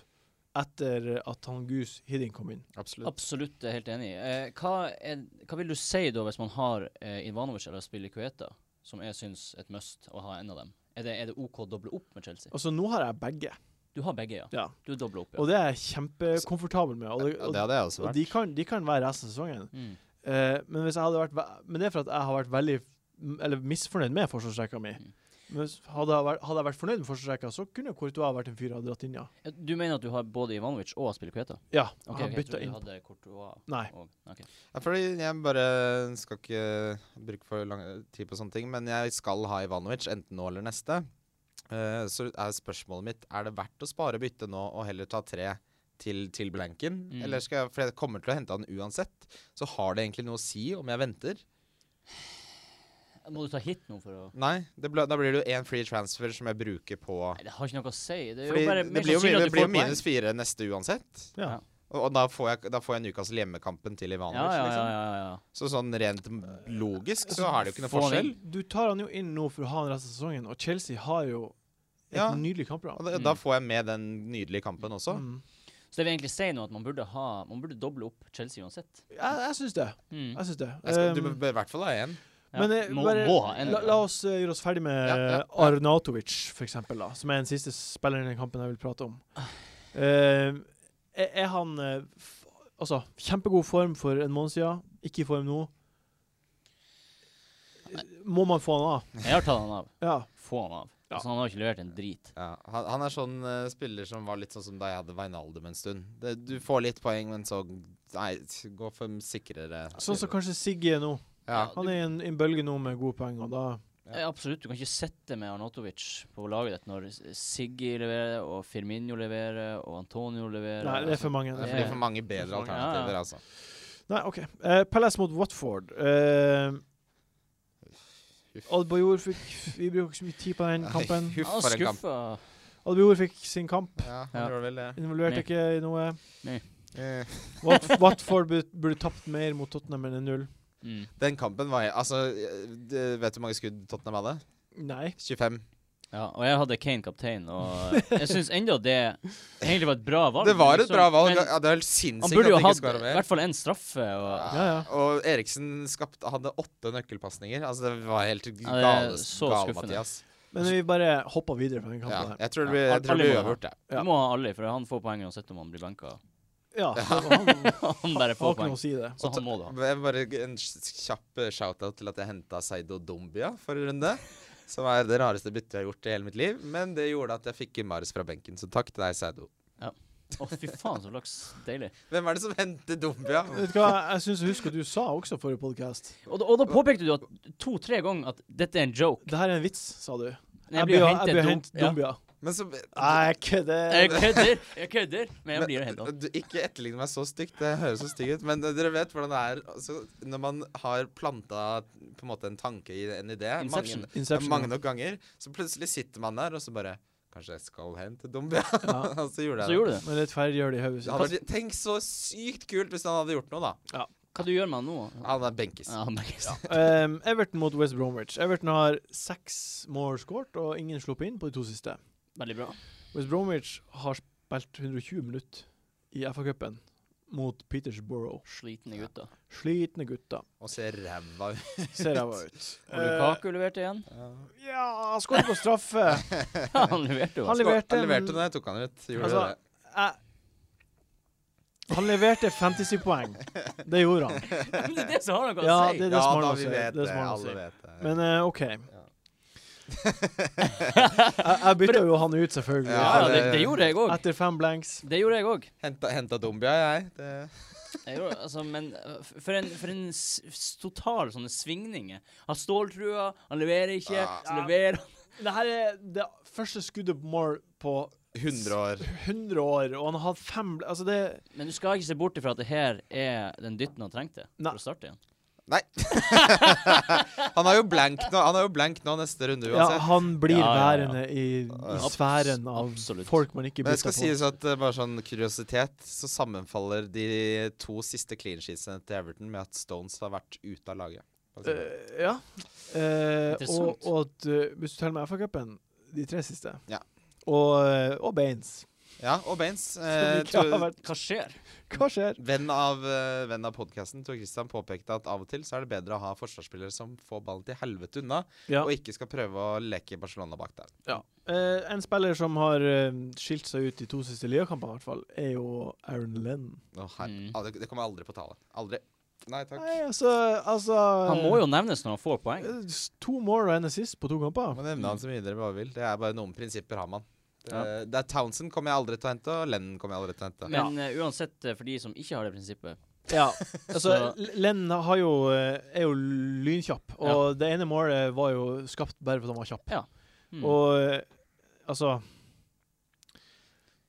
Speaker 1: etter at han Goose Hidding kom inn.
Speaker 4: Absolutt.
Speaker 2: Absolutt, jeg er helt enig. Eh, hva, er, hva vil du si da hvis man har eh, Ivanovic eller spiller Kueta, som jeg syns et must å ha en av dem? Er det, er det OK å doble opp med Chelsea?
Speaker 1: Altså, nå har jeg begge,
Speaker 2: Du har begge, ja.
Speaker 1: Ja.
Speaker 2: Du dobler opp, ja.
Speaker 1: og det er jeg kjempekomfortabel med. Og, det,
Speaker 4: Ja,
Speaker 1: og,
Speaker 4: det hadde jeg også
Speaker 1: og
Speaker 4: vært.
Speaker 1: de, kan, de kan være resten av sesongen.
Speaker 2: Mm.
Speaker 1: Eh, men, hvis jeg hadde vært, ve- men det er for at jeg har vært veldig m- eller misfornøyd med forsvarsrekka mi.
Speaker 2: Mm.
Speaker 1: Men hvis- hadde jeg, vært, hadde jeg vært fornøyd med forsvarsrekka, så kunne Courtois vært en fyr jeg hadde dratt inn, ja.
Speaker 2: Ja, Du mener at du har både Ivanovic og spiller Kueta?
Speaker 1: Ja,
Speaker 2: Ok,
Speaker 1: han
Speaker 2: ok,
Speaker 1: bytta
Speaker 2: jeg
Speaker 1: inn.
Speaker 2: trodde du hadde Courtois
Speaker 1: Nei.
Speaker 2: og- ok.
Speaker 4: Ja, fordi jeg bare skal ikke bruke for lang tid på sånne ting, men jeg skal ha Ivanovic enten nå eller neste. Eh, så er spørsmålet mitt er det verdt å spare byttet nå og heller ta tre til, til blanken.
Speaker 2: Mm.
Speaker 4: Eller skal jeg, for jeg kommer til å hente han uansett. Så har det egentlig noe å si om jeg venter?
Speaker 2: Må du ta hit nå for å
Speaker 4: Nei, det ble, da blir det jo én free transfer som jeg bruker på
Speaker 2: Nei, det har ikke noe å si. Det er
Speaker 4: Fordi
Speaker 2: jo bare
Speaker 4: det
Speaker 2: mer
Speaker 4: blir jo,
Speaker 2: sannsynlig
Speaker 4: min-
Speaker 2: at
Speaker 4: det
Speaker 2: du
Speaker 4: blir jo
Speaker 2: får poeng.
Speaker 4: minus fire neste uansett.
Speaker 1: Ja.
Speaker 2: Ja.
Speaker 4: Og, og da, får jeg, da får jeg Newcastle hjemmekampen til Ivanovic.
Speaker 2: Ja, ja, ja,
Speaker 4: liksom.
Speaker 2: ja, ja.
Speaker 4: Så sånn rent logisk så har det jo ikke noe
Speaker 2: Få han
Speaker 4: forskjell.
Speaker 2: inn.
Speaker 1: Du tar han jo inn nå for å ha han resten av sesongen, og Chelsea har jo et
Speaker 4: Ja.
Speaker 1: nydelig
Speaker 4: Og
Speaker 1: kampprogram.
Speaker 4: da, da får jeg med den nydelige kampen også.
Speaker 1: Mm.
Speaker 2: Så det vil egentlig si nå at man burde ha Man burde doble opp Chelsea uansett.
Speaker 1: Jeg, jeg syns det.
Speaker 2: Mm.
Speaker 1: Jeg syns det.
Speaker 4: Jeg skal, du
Speaker 1: Um,
Speaker 4: bør i hvert fall ha én.
Speaker 2: Ja.
Speaker 1: Men eh,
Speaker 2: må,
Speaker 1: bare,
Speaker 2: må ha en.
Speaker 1: la, la oss eh, gjøre oss ferdig med
Speaker 4: Ja, ja, ja.
Speaker 1: Arnatovic, for eksempel, da, som er den siste spilleren i den kampen jeg vil prate om. Eh, er, er han eh, f Altså, kjempegod form for en måned siden, ikke i form nå. Må man få han av?
Speaker 2: Jeg har tatt han av.
Speaker 1: Ja.
Speaker 2: Få han av.
Speaker 1: Ja.
Speaker 2: Altså, han har ikke levert en drit.
Speaker 4: Ja, han, han er sånn eh, spiller som var litt sånn som da jeg hadde Veinaldum en stund. Det, du får litt poeng, men så Nei, t- gå for en sikrere
Speaker 1: Sånn som kanskje Siggy er nå.
Speaker 4: ja.
Speaker 2: Ja,
Speaker 1: Han er i en, i en bølge nå med gode poeng, og da
Speaker 2: Eh, Absolutt. Du kan ikke sitte med Arnatovic på laget ditt når Siggy leverer, og Firmino leverer, og Antonio leverer.
Speaker 1: Nei, det er for mange.
Speaker 4: Det er
Speaker 1: Det er
Speaker 4: fordi for
Speaker 1: for mange.
Speaker 4: mange bedre alternativer, altså.
Speaker 1: Nei, OK. Eh, Palace mot Watford. Eh, Oddbajor fikk Vi bruker ikke så mye tid på den kampen.
Speaker 4: Huff
Speaker 2: Han
Speaker 4: for en kamp.
Speaker 2: skuffa.
Speaker 1: Adebayor fikk sin kamp.
Speaker 4: Ja, han
Speaker 2: Ah, Ja.
Speaker 4: gjorde vel det.
Speaker 1: Involverte
Speaker 2: Nei.
Speaker 1: ikke i noe.
Speaker 4: Eh,
Speaker 1: Wat Watford burde, burde tapt mer mot Tottenham enn 0.
Speaker 2: Mm.
Speaker 4: Den kampen var jeg Altså, eh, det- vet du hvor mange skudd Tottenham hadde?
Speaker 1: Nei.
Speaker 4: 25.
Speaker 2: Ja, og jeg hadde Kane kaptein, og jeg syns enda det egentlig var et bra valg.
Speaker 4: Det var et
Speaker 2: liksom.
Speaker 4: bra valg.
Speaker 2: Men
Speaker 4: Ja, det er helt
Speaker 2: han
Speaker 4: sinnssykt at
Speaker 2: burde jo
Speaker 4: det ikke
Speaker 2: hatt
Speaker 4: skåra
Speaker 2: i
Speaker 4: mer.
Speaker 2: hvert fall en straffe. Og,
Speaker 1: Ja, ja.
Speaker 4: Og Eriksen skapte, hadde åtte nøkkelpasninger. Altså, det var helt
Speaker 2: er
Speaker 4: gale,
Speaker 2: så
Speaker 4: gal,
Speaker 2: skuffende.
Speaker 4: Mathias.
Speaker 1: Men vi bare hopper videre fra den
Speaker 4: Ja,
Speaker 1: kampen.
Speaker 4: jeg tror det
Speaker 2: Ja,
Speaker 4: blir jeg tror det
Speaker 2: alle
Speaker 4: blir
Speaker 2: må ha.
Speaker 4: uavgjort, jeg.
Speaker 1: Ja.
Speaker 2: Du må ha alle, for han får poeng uansett om han blir benka.
Speaker 1: Ja, ja så han har
Speaker 2: han bare får
Speaker 1: ikke noe
Speaker 2: poeng,
Speaker 1: å si det.
Speaker 2: så han må du ha.
Speaker 4: Jeg vil Bare gi en s- kjapp eh, shout-out til at jeg henta Seido Dombia forrige runde. Som er det rareste byttet jeg har gjort i hele mitt liv. Men det gjorde at jeg fikk Maris fra benken, så takk til deg, Seido.
Speaker 2: Å, fy faen, så flaks. Deilig.
Speaker 4: Hvem er det som henter Dombia?
Speaker 1: Vet du hva, jeg syns jeg husker at du sa også forrige podkast
Speaker 2: Og, da- og da påpekte du at to-tre ganger at dette er en joke.
Speaker 1: Det her er en vits, sa du.
Speaker 2: Men
Speaker 1: Jeg blir
Speaker 2: jo
Speaker 1: jeg
Speaker 2: hentet
Speaker 1: blir
Speaker 2: dum-
Speaker 1: hentet Dumbia.
Speaker 4: Men så
Speaker 1: Jeg
Speaker 2: Jeg
Speaker 1: kødder.
Speaker 2: kødder, jeg kødder, men jeg blir
Speaker 4: Men,
Speaker 2: henta.
Speaker 4: du, ikke etterligne meg så stygt, det høres så stygg ut. Men eh, dere vet hvordan det er altså, når man har planta på en måte en tanke i en idé mange,
Speaker 2: Inception.
Speaker 1: Inception.
Speaker 4: mange nok ganger, så plutselig sitter man der, og så bare Kanskje jeg skal hente Dombia?
Speaker 1: Ja.
Speaker 4: og så gjorde jeg
Speaker 2: Så gjorde du det.
Speaker 1: Men rettferdiggjør det i hodet
Speaker 4: Det hadde
Speaker 1: sitt.
Speaker 4: vært, tenk så sykt kult hvis han hadde gjort noe, da.
Speaker 2: Hva du gjør med han nå?
Speaker 4: Han er benkes.
Speaker 2: Ja, han merker seg.
Speaker 1: Um, Everton mot West Bromwich. Everton har seks mål skåret, og ingen sluppet inn på de to siste.
Speaker 2: Veldig bra.
Speaker 1: West Bromwich har spilt 120 minutter i FA-cupen mot Petersborough.
Speaker 2: Slitne gutter.
Speaker 1: Slitne gutter.
Speaker 4: Og ser ræva ut.
Speaker 1: Ser ræva ut.
Speaker 2: Og Lukaku leverte igjen.
Speaker 1: Eh, ja, han skåret på straffe.
Speaker 2: han leverte jo.
Speaker 1: Han leverte,
Speaker 4: Han leverte
Speaker 1: men,
Speaker 4: når jeg tok han ut. Gjorde
Speaker 1: Altså,
Speaker 4: det.
Speaker 1: eh, han leverte 50 poeng. Det gjorde han.
Speaker 2: Men det er det som har noe å
Speaker 1: Ja,
Speaker 2: si.
Speaker 1: det, det
Speaker 4: ja,
Speaker 1: er smart
Speaker 4: da
Speaker 1: å si.
Speaker 4: vi vet
Speaker 1: Det er
Speaker 4: det.
Speaker 1: smart å
Speaker 4: Alle
Speaker 1: si.
Speaker 4: vet det.
Speaker 1: Men eh, OK. jeg, jeg bytta jo han ut, selvfølgelig.
Speaker 2: Ja, ja, det, det gjorde jeg òg.
Speaker 1: Etter fem blanks.
Speaker 2: Det gjorde jeg òg.
Speaker 4: Henta, henta Dombia, jeg. Det,
Speaker 2: Jeg gjorde- Altså, men øh, f- for en, for en s s- total sånne svingninger. Han ståltrua, han leverer ikke,
Speaker 4: Ja.
Speaker 2: så leverer han.
Speaker 1: Det her er det første skuddet på mål på
Speaker 4: 100 år.
Speaker 1: 100 år, og han har hatt fem bl- Altså, det
Speaker 2: Men du skal ikke se bort ifra at det her er den dytten han trengte
Speaker 1: Nei.
Speaker 2: for å starte igjen.
Speaker 4: Nei. han er jo blank nå, han er jo blank nå neste runde
Speaker 1: Ja,
Speaker 4: uansett.
Speaker 1: han blir
Speaker 2: Ja, ja, ja.
Speaker 1: værende i, i
Speaker 4: Abs-
Speaker 1: sfæren av
Speaker 2: absolutt.
Speaker 1: folk man ikke
Speaker 4: Men det
Speaker 1: bytter
Speaker 4: skal
Speaker 1: på.
Speaker 4: sies at eh, bare sånn kuriositet, så sammenfaller de to siste clean sheetsene til Everton med at Stones har vært ute av laget. Bare si.
Speaker 1: Eh, ja. Eh, og,
Speaker 2: Interessant.
Speaker 1: og at eh, hvis du teller med FA-cupen, de tre siste,
Speaker 4: Ja.
Speaker 1: og, eh, og Baines
Speaker 4: Ja, og Baines.
Speaker 1: som
Speaker 4: Eh,
Speaker 1: ikke har
Speaker 4: Tor-
Speaker 1: vært-
Speaker 2: Hva skjer?
Speaker 1: Hva skjer?
Speaker 4: venn av, eh, venn av podkasten, Tor Christian, påpekte at av og til så er det bedre å ha forsvarsspillere som får ballen til helvete unna,
Speaker 1: Ja.
Speaker 4: og ikke skal prøve å leke Barcelona bak der.
Speaker 1: Eh, en spiller som har eh, skilt seg ut de to siste ligakampene, i hvert fall, er jo Aaron Lenn.
Speaker 4: Å, her,
Speaker 2: Mm.
Speaker 4: ah, det, det kommer aldri på tale. Aldri. Nei takk.
Speaker 1: Nei, altså, altså
Speaker 2: Han må jo nevnes når han får poeng.
Speaker 1: eh, To more og en assist på to kamper.
Speaker 4: Må nevne han så mye dere bare vil. Det er bare noen prinsipper har man. Det,
Speaker 2: Ja.
Speaker 4: det er Townsend kommer jeg aldri til å hente, og Lennon kommer jeg aldri til å hente.
Speaker 2: Men eh, uansett, eh, for de som ikke har det prinsippet
Speaker 1: Ja. altså,
Speaker 2: Så-
Speaker 1: L- Lenn har jo, eh, er jo lynkjapp, og det ene målet var jo skapt bare fordi han var kjapp.
Speaker 2: Ja. mm.
Speaker 1: Og eh, altså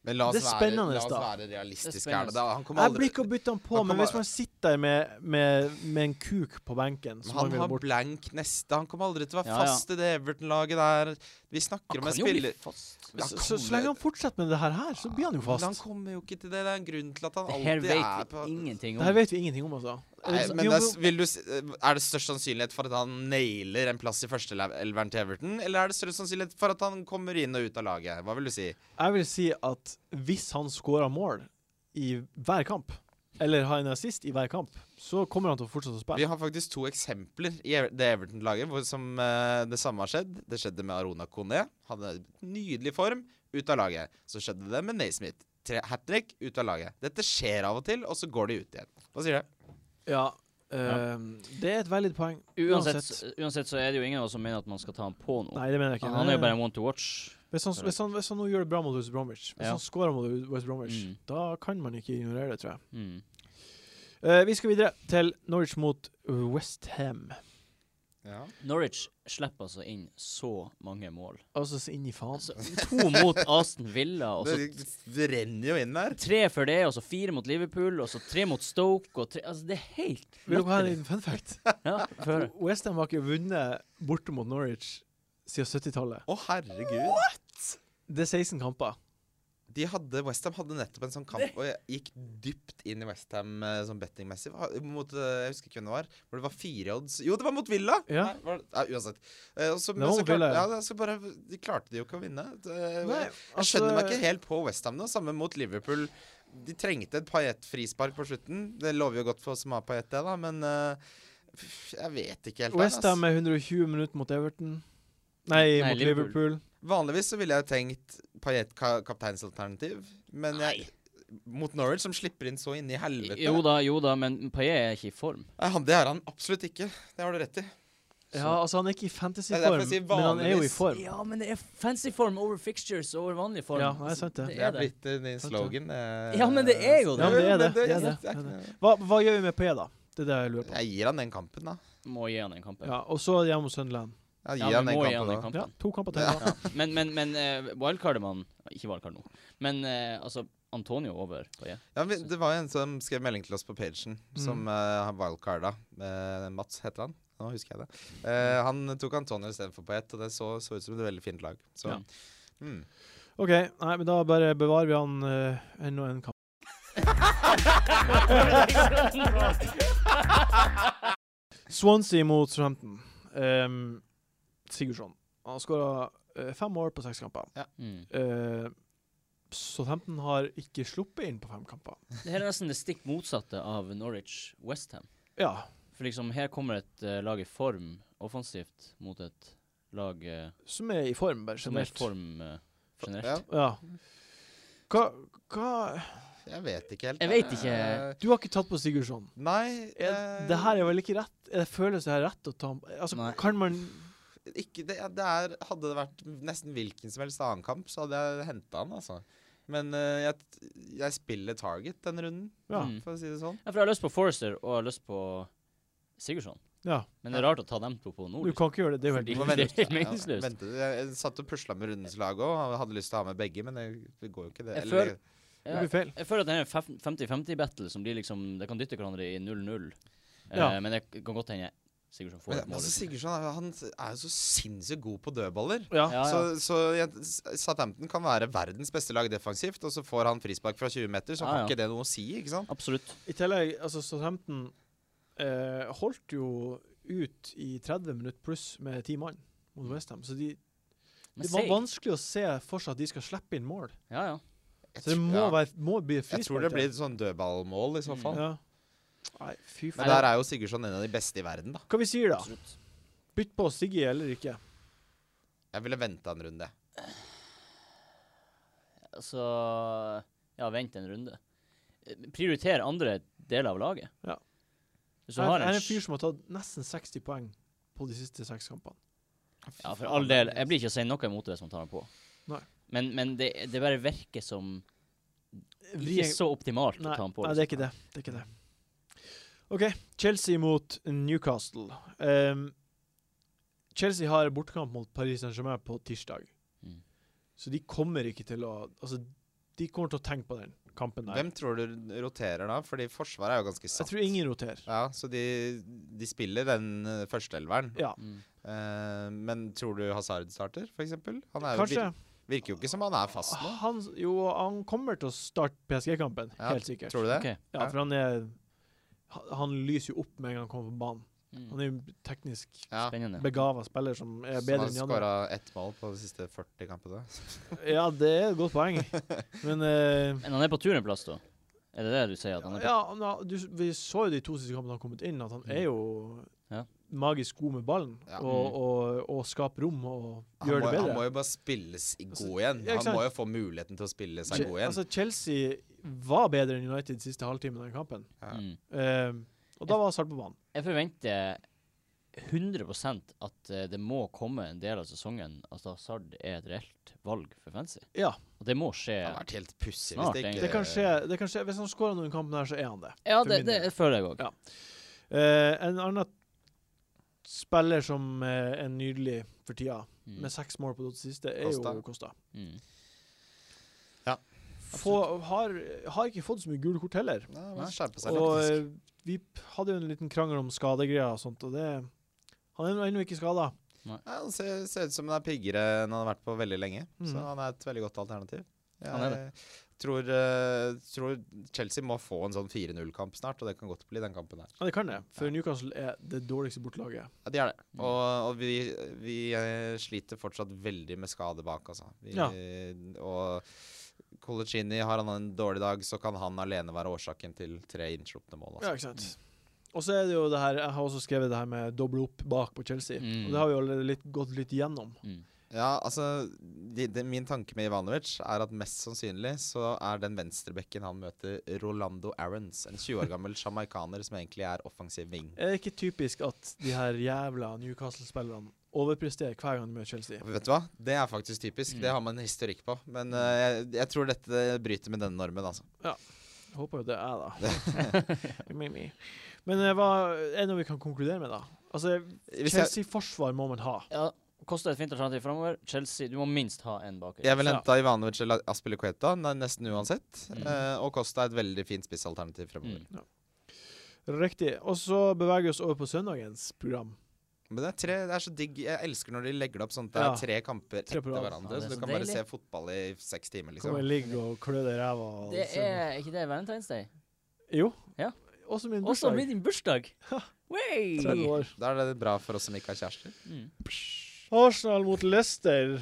Speaker 4: Men la oss,
Speaker 1: Det er spennende,
Speaker 4: være, la oss
Speaker 1: da.
Speaker 4: være
Speaker 2: Det
Speaker 4: realistiske
Speaker 2: er
Speaker 4: her. da. Da, Han kommer
Speaker 1: Jeg blir
Speaker 4: aldri
Speaker 1: ikke å bytte han på,
Speaker 4: Han
Speaker 1: men
Speaker 4: kommer-
Speaker 1: hvis man sitter der med, med, med en kuk på benken
Speaker 4: Men
Speaker 1: så
Speaker 4: han
Speaker 1: mangler det
Speaker 4: har
Speaker 1: bort.
Speaker 4: blank neste. Han kommer aldri til å være
Speaker 2: Ja, ja.
Speaker 4: fast i det Everton-laget der. Vi snakker
Speaker 2: han
Speaker 4: om
Speaker 2: kan
Speaker 4: en
Speaker 2: jo bli
Speaker 4: spiller
Speaker 2: fast.
Speaker 4: Ja,
Speaker 1: Så, så, så lenge han fortsetter med det her, her, så blir han jo
Speaker 4: Men Han
Speaker 1: fast.
Speaker 4: kommer jo ikke til det. Det er en grunn til at han
Speaker 2: Det her
Speaker 4: alltid er
Speaker 2: vet
Speaker 4: på
Speaker 2: vi ingenting
Speaker 1: Det
Speaker 2: om.
Speaker 1: her vet vi ingenting om, altså.
Speaker 4: Nei,
Speaker 1: Eh,
Speaker 4: men
Speaker 1: jo,
Speaker 4: det er, s- vil du, s- eh, er det størst sannsynlighet for at han nailer en plass i førsteelveren til Everton, eller er det størst sannsynlighet for at han kommer inn og ut av laget? Hva vil du si?
Speaker 1: Jeg vil si at hvis han scorer mål i hver kamp, eller har en assist i hver kamp, så kommer han til å fortsette å
Speaker 4: Vi
Speaker 1: spille.
Speaker 4: har faktisk to eksempler i Ever- det Everton-laget hvor som eh, det samme har skjedd. Det skjedde med Arona Kone. Hadde nydelig form ut av laget. Så skjedde det med Naismith. Tre Hat trick ut av laget. Dette skjer av og til, og så går de ut igjen. Hva sier du?
Speaker 1: Ja, eh, Det er et veldig poeng.
Speaker 2: Uansett, s- uansett så er det jo ingen av oss som mener at man skal ta han på nå.
Speaker 1: Nei, det mener jeg ikke.
Speaker 2: Han, han er jo
Speaker 1: Men,
Speaker 2: bare en one to watch.
Speaker 1: Hvis han, hvis, han, hvis han nå gjør det bra mot West Bromwich, hvis
Speaker 2: Ja.
Speaker 1: han scorer mot West Bromwich,
Speaker 2: Mm.
Speaker 1: da kan man ikke ignorere det, tror jeg.
Speaker 2: Mm.
Speaker 1: Eh, vi skal videre til Norwich mot Westham.
Speaker 4: Ja.
Speaker 2: Norwich slipper altså inn så mange mål.
Speaker 1: Altså så inn i faen.
Speaker 2: Altså, to mot Aston Villa, og så
Speaker 4: Det,
Speaker 2: Altså-
Speaker 4: det renner jo inn der.
Speaker 2: tre for det, og så fire mot Liverpool, og så tre mot Stoke, og tre Altså, det er helt
Speaker 1: Vil dere ha en
Speaker 2: latterlig.
Speaker 1: liten fun fact?
Speaker 2: Ja, få høre.
Speaker 1: Westham har ikke vunnet borte mot Norwich siden 70-tallet.
Speaker 4: Å, herregud.
Speaker 1: Det er 16 kamper.
Speaker 4: De hadde, Westham hadde nettopp en sånn kamp, og jeg gikk dypt inn i Westham sånn bettingmessig. Hva- Mot, eh, jeg husker ikke hvem det var. Hvor det var fire odds Jo, det var mot Villa!
Speaker 1: Ja.
Speaker 4: Nei, var det, nei, uansett. Eh, og så,
Speaker 1: Det
Speaker 4: men
Speaker 1: var
Speaker 4: så
Speaker 1: mot Villa,
Speaker 4: klarte, ja,
Speaker 1: ja.
Speaker 4: det- så bare, de klarte de jo ikke å vinne. Det,
Speaker 1: Nei, altså,
Speaker 4: Jeg skjønner meg ikke helt på Westham nå. Samme mot Liverpool. De trengte et Paillet-frispark på slutten. Det lover jo godt for oss som har Paillet, det, da, men eh, pff, jeg vet ikke helt. der, ass.
Speaker 1: Westham er 120 minutter mot Everton. Nei,
Speaker 2: Nei,
Speaker 1: mot
Speaker 2: Liverpool.
Speaker 1: Liverpool.
Speaker 4: Vanligvis så ville jeg tenkt Paillet ka kapteinsalternativ, men jeg, mot Norwich, som slipper inn så inn i helvete
Speaker 2: Jo da, jo da, men Paillet er ikke i form.
Speaker 4: Nei, han, Det er han absolutt ikke. Det har du rett i.
Speaker 1: Ja, altså Han er ikke i
Speaker 4: Det er derfor
Speaker 1: fantasy-form,
Speaker 4: jeg sier
Speaker 1: men han er jo i
Speaker 4: vanligvis.
Speaker 1: form.
Speaker 2: Ja, men det er fancy form over fixtures over vanlig form.
Speaker 1: Ja, nei, sant det.
Speaker 4: Det
Speaker 2: Det
Speaker 4: er
Speaker 2: er det.
Speaker 4: blitt en ny
Speaker 1: Sant det.
Speaker 4: slogan. eh,
Speaker 2: Ja, men det er jo det.
Speaker 1: Ja, men det er det. Det er det.
Speaker 4: jeg synes det er ikke noe-
Speaker 1: Hva, hva gjør vi med P, da? Det er det jeg lurer på.
Speaker 4: Jeg gir han den kampen, da.
Speaker 2: Må gi han den kampen.
Speaker 1: Ja, Og så hjemme hos Sunderland.
Speaker 4: Jeg
Speaker 2: Ja,
Speaker 4: gir han
Speaker 2: vi
Speaker 4: den
Speaker 2: må gi
Speaker 4: kampen,
Speaker 2: han den
Speaker 4: da.
Speaker 2: kampen.
Speaker 1: Ja, to kamper til. da.
Speaker 2: Men, men, men eh, wildcardet man Ikke wildcard nå, men eh, altså Antonio over Paillet.
Speaker 4: Ja, vi, det var jo en som skrev melding til oss på pagen, som
Speaker 1: Mm.
Speaker 4: eh, har wildcarda. Eh, Mats heter han. Nå husker jeg det. Eh, han tok Antonio istedenfor Paillet, og det så, så ut som et veldig fint lag. Så
Speaker 2: Ja.
Speaker 4: mm.
Speaker 1: OK, nei, men da bare bevarer vi han eh, enda en kamp. Swansea mot Southampton. Ehm, Sigurdsson. Han har skåra fem mål på seks kamper.
Speaker 2: Mm.
Speaker 1: Eh, Southampton har ikke sluppet inn på fem kamper.
Speaker 2: Det her er nesten det stikk motsatte av Norwich Westham.
Speaker 1: Ja.
Speaker 2: For liksom, her kommer et eh, lag i form offensivt mot et lag eh,
Speaker 1: Som er i form, bare
Speaker 2: som er i
Speaker 1: generelt.
Speaker 2: form eh, generelt.
Speaker 4: ja,
Speaker 1: Ja. Hva, hva
Speaker 4: jeg vet ikke helt.
Speaker 2: Jeg vet
Speaker 4: eh,
Speaker 2: ikke.
Speaker 1: Du har ikke tatt på Sigurdsson.
Speaker 4: Nei
Speaker 2: Eh,
Speaker 4: eh,
Speaker 1: Er, det her er vel ikke rett? Er det føles det her rett å ta ham Altså,
Speaker 2: Nei.
Speaker 1: kan man
Speaker 4: ikke, det, det er, Hadde det vært nesten hvilken som helst annen kamp, så hadde jeg henta han, altså. Men eh, jeg, jeg spiller target denne runden,
Speaker 1: Ja.
Speaker 2: Mm.
Speaker 4: for å si det sånn.
Speaker 2: Ja, for jeg har lyst på Forrester og jeg har lyst på Sigurdsson.
Speaker 1: ja.
Speaker 2: Men det er rart å ta dem to på nå.
Speaker 1: Du kan ikke gjøre det. Det er jo helt
Speaker 2: Fordi-
Speaker 4: Må
Speaker 2: Det er
Speaker 4: vente.
Speaker 2: helt
Speaker 4: Ja,
Speaker 2: meningsløst.
Speaker 4: vente. Jeg jeg satt og pusla med rundens lag òg, hadde lyst til å ha med begge, men det, det går jo ikke, det.
Speaker 2: Jeg
Speaker 4: Eller,
Speaker 2: føler-
Speaker 4: det-
Speaker 1: Det blir
Speaker 2: Jeg,
Speaker 1: feil.
Speaker 2: jeg føler at det er en fef- 50-50-battle som blir liksom Det kan dytte hverandre i 0-0. Eh,
Speaker 1: Ja.
Speaker 2: Men det kan godt hende Sigurdsson får
Speaker 4: men,
Speaker 2: et mål.
Speaker 4: altså,
Speaker 2: ut.
Speaker 4: Sigurdsson er- han er jo så sinnssykt god på dødballer.
Speaker 1: Ja.
Speaker 2: Ja, ja.
Speaker 4: Så, så jeg, Southampton kan være verdens beste lag defensivt, og så får han frispark fra 20 meter, så
Speaker 2: Ja,
Speaker 4: har
Speaker 2: ja.
Speaker 4: ikke det noe å si, ikke sant?
Speaker 2: Absolutt.
Speaker 1: I tillegg, altså Southampton eh, holdt jo ut i 30 minutter pluss med ti mann mot Westham. Så de,
Speaker 2: Men
Speaker 1: det var
Speaker 2: Seig-
Speaker 1: vanskelig å se for seg at de skal slippe inn mål.
Speaker 2: Ja, ja.
Speaker 4: Jeg
Speaker 1: Så det må,
Speaker 4: tror- ja.
Speaker 1: være, må bli frispark.
Speaker 4: Jeg tror det
Speaker 1: der.
Speaker 4: blir et sånn dødballmål i så
Speaker 2: Mm.
Speaker 4: fall.
Speaker 1: ja. Nei, fy
Speaker 4: Men
Speaker 1: faen.
Speaker 4: der er jo Sigurdsson en av de beste i verden, da.
Speaker 1: Hva vi sier da?
Speaker 2: Absolutt.
Speaker 1: Bytt på Siggy eller ikke?
Speaker 4: Jeg ville venta en runde.
Speaker 2: Så Altså, ja, vent en runde. Eh, Prioriter andre deler av laget.
Speaker 1: Ja.
Speaker 2: Hvis du
Speaker 1: Jeg
Speaker 2: har
Speaker 1: jeg er
Speaker 2: en
Speaker 1: en fyr
Speaker 2: sj-
Speaker 1: som har tatt nesten 60 poeng på de siste seks kampene.
Speaker 2: Ja, for all del. Jeg blir ikke å si noe imot det hvis man tar den på.
Speaker 1: Nei.
Speaker 2: Men, men det, det bare virker som
Speaker 1: Vri-
Speaker 2: ikke så optimalt
Speaker 1: Nei,
Speaker 2: å ta den på. liksom.
Speaker 1: nei, det er ikke det. Det er ikke det. OK, Chelsea mot Newcastle. Ehm, Chelsea har bortekamp mot Paris Saint-Germain på tirsdag.
Speaker 2: Mm.
Speaker 1: Så de kommer ikke til å Altså, de kommer til å tenke på den kampen der.
Speaker 4: Hvem tror du roterer da? Fordi forsvaret er jo ganske
Speaker 1: Jeg
Speaker 4: satt.
Speaker 1: tror ingen roterer.
Speaker 4: Ja, så de, de spiller den uh, førsteelveren.
Speaker 1: Ja,
Speaker 2: Mm.
Speaker 4: Eh, men tror du Hazard starter, f.eks.? Han er jo
Speaker 1: kanskje.
Speaker 4: vir virker jo ikke som han er fast nå.
Speaker 1: Han, jo, han kommer til å starte PSG-kampen,
Speaker 4: Ja,
Speaker 1: helt sikkert.
Speaker 4: Tror du det?
Speaker 2: Ok.
Speaker 1: Ja, for han er ha- Han lyser jo opp med en gang han kommer på banen. Han
Speaker 2: Mm.
Speaker 1: er jo en teknisk
Speaker 4: Ja.
Speaker 2: Spennende.
Speaker 1: begava spiller som er
Speaker 4: Så
Speaker 1: bedre
Speaker 4: han
Speaker 1: enn de andre.
Speaker 4: skåra ett mål på de siste 40 kampene.
Speaker 1: Ja, det er et godt poeng. Men eh,
Speaker 2: Men han er på tur en plass, da? Er det det du sier? at han er på?
Speaker 1: ja, na- du, s- vi så jo de to siste kampene han har kommet inn, at han er jo
Speaker 2: Ja.
Speaker 1: magisk god med ballen.
Speaker 4: Ja. Mm.
Speaker 1: Og, og, og skaper rom og
Speaker 4: Han,
Speaker 1: gjør
Speaker 4: må,
Speaker 1: det bedre.
Speaker 4: han må jo bare spilles i
Speaker 1: Altså,
Speaker 4: god igjen.
Speaker 1: ja, ikke
Speaker 4: Han må
Speaker 1: sant?
Speaker 4: jo få muligheten til å spille seg
Speaker 1: Che-
Speaker 4: god igjen.
Speaker 1: Altså, Chelsea var bedre enn United siste halvtimen av den kampen.
Speaker 4: Ja.
Speaker 2: Mm.
Speaker 1: Eh, og da var Sart på banen.
Speaker 2: Jeg forventer 100 at eh, det må komme en del av sesongen at Hazard er et reelt valg for fancy.
Speaker 1: Ja,
Speaker 2: Og det må skje.
Speaker 4: Det hadde vært helt pussig hvis
Speaker 2: Snart,
Speaker 4: det ikke
Speaker 2: egentlig.
Speaker 1: det kan skje. Det kan skje. Hvis han skårer noen kamper her, så er han det.
Speaker 2: Ja,
Speaker 1: for
Speaker 2: det,
Speaker 1: min
Speaker 2: det
Speaker 1: del.
Speaker 2: føler jeg òg.
Speaker 1: Ja. Eh, en annen spiller som eh, er nydelig for tida,
Speaker 2: Mm.
Speaker 1: med seks mål på det siste, er
Speaker 4: Costa.
Speaker 1: jo Kosta.
Speaker 2: Mm.
Speaker 1: Få, har, har ikke fått så mye gule kort heller.
Speaker 4: Nei, man skjerper seg
Speaker 1: Og
Speaker 4: faktisk.
Speaker 1: eh, vi p- hadde jo en liten krangel om skadegreier og sånt, og det Han er jo ennå ikke skada.
Speaker 4: Nei, han ser, ser ut som han er piggere enn han har vært på veldig lenge.
Speaker 1: Mhm.
Speaker 4: Så han er et veldig godt alternativ. Jeg
Speaker 2: Han er
Speaker 4: Tror, eh, tror Chelsea må få en sånn 4-0-kamp snart, og det kan godt bli den kampen her.
Speaker 1: Ja, det kan det, for Newcastle er det dårligste bortelaget.
Speaker 4: Ja, de er det.
Speaker 2: Mhm.
Speaker 4: Og, og vi, vi eh, sliter fortsatt veldig med skade bak, altså. Vi,
Speaker 1: Ja.
Speaker 4: Og Colicini, har han en dårlig dag, så kan han alene være årsaken til tre innslupne mål.
Speaker 1: Ja,
Speaker 4: Altså.
Speaker 1: ikke sant. Og så er det jo det her Jeg har også skrevet det her med doble opp bak på Chelsea.
Speaker 2: Mm.
Speaker 1: Og det har vi jo allerede litt, gått litt gjennom.
Speaker 2: Mm.
Speaker 4: Ja. altså de, de, Min tanke med Ivanovic er at mest sannsynlig så er den venstrebekken han møter, Rolando Aarons. En 20 år gammel sjamarikaner som egentlig er offensiv wing.
Speaker 1: Er det ikke typisk at de her jævla Newcastle-spillerne overpresterer hver gang de møter Chelsea?
Speaker 4: Vet du hva? Det er faktisk typisk.
Speaker 2: Mm.
Speaker 4: Det har man en historikk på. Men eh, jeg, jeg tror dette bryter med denne normen, altså.
Speaker 1: Jeg håper jo det er da. Me, me. Men eh, hva er det noe vi kan konkludere med, da? Altså,
Speaker 4: Hvis jeg,
Speaker 1: Chelsea-forsvar må man ha.
Speaker 2: Ja, Kosta et fint alternativ framover. Chelsea, du må minst ha en bak.
Speaker 4: jeg vil
Speaker 1: Ja.
Speaker 4: hente Ivanovic eller Aspilicueta ne- nesten uansett.
Speaker 2: Mm.
Speaker 4: eh, og Costa er et veldig fint spissalternativ fremover.
Speaker 2: Mm.
Speaker 1: Riktig. Og så beveger vi oss over på søndagens program.
Speaker 4: Men det er, tre, det er så digg. Jeg elsker når de legger det opp sånn at det
Speaker 1: Ja.
Speaker 4: er tre
Speaker 1: Tre
Speaker 4: kamper etter
Speaker 1: på rad.
Speaker 4: hverandre.
Speaker 2: Ja, det er
Speaker 4: så du
Speaker 2: så
Speaker 4: kan
Speaker 2: deilig.
Speaker 4: bare se fotball i seks timer,
Speaker 1: Kan
Speaker 4: liksom.
Speaker 1: man ligge og klø deg i ræva? og
Speaker 2: Det
Speaker 1: se-
Speaker 2: er ikke det Valentine's Day?
Speaker 1: Jo.
Speaker 2: Ja.
Speaker 1: Også min
Speaker 2: Også
Speaker 1: bursdag.
Speaker 2: blir din bursdag! Wey!
Speaker 1: 30 år.
Speaker 4: Da er det bra for oss som ikke har kjærester.
Speaker 2: Mm.
Speaker 1: Arsenal mot Leicester.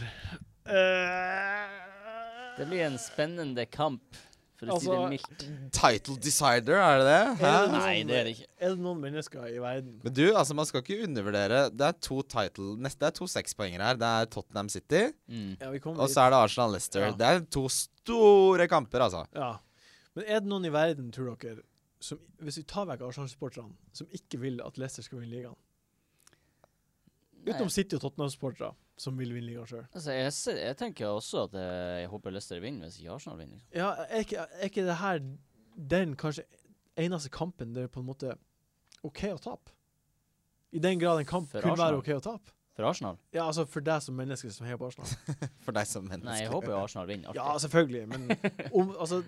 Speaker 1: Eh,
Speaker 2: Det blir en spennende kamp, for å si det
Speaker 1: Altså,
Speaker 2: mildt.
Speaker 4: Title decider, er det det? Hæ?
Speaker 1: Er det noe
Speaker 2: Nei,
Speaker 1: sånn-
Speaker 2: det er det ikke.
Speaker 1: Er det noen mennesker i verden
Speaker 4: Men du, altså, man skal ikke undervurdere. Det er to title Neste er to sekspoengere her. Det er Tottenham City,
Speaker 2: Mm.
Speaker 1: Ja, vi kommer
Speaker 4: og
Speaker 1: dit.
Speaker 4: så er det Arsenal-Leicester.
Speaker 1: Ja.
Speaker 4: Det er to store kamper, altså.
Speaker 1: Ja. Men er det noen i verden, tror dere, som, hvis vi tar vekk Arsenal-supporterne, som ikke vil at Leicester skal vinne ligaen?
Speaker 2: Nei,
Speaker 1: Utenom City og Tottenham-supportere, som vil vinne ligaen sjøl.
Speaker 2: Altså, jeg, ser- jeg tenker også at eh, jeg håper Leicester vinner, hvis ikke Arsenal vinner. Liksom.
Speaker 1: Ja, er ikke, er ikke det her den kanskje eneste kampen det er på en måte OK å tape? I den grad en kamp
Speaker 2: For
Speaker 1: kunne være
Speaker 2: Arsenal?
Speaker 1: OK å tape?
Speaker 2: For Arsenal?
Speaker 1: Ja, altså for deg som menneske som heier på Arsenal.
Speaker 4: For deg som menneske.
Speaker 2: Nei, jeg håper jo Arsenal vinner.
Speaker 1: Ja,
Speaker 2: alltid.
Speaker 1: selvfølgelig, men om, altså,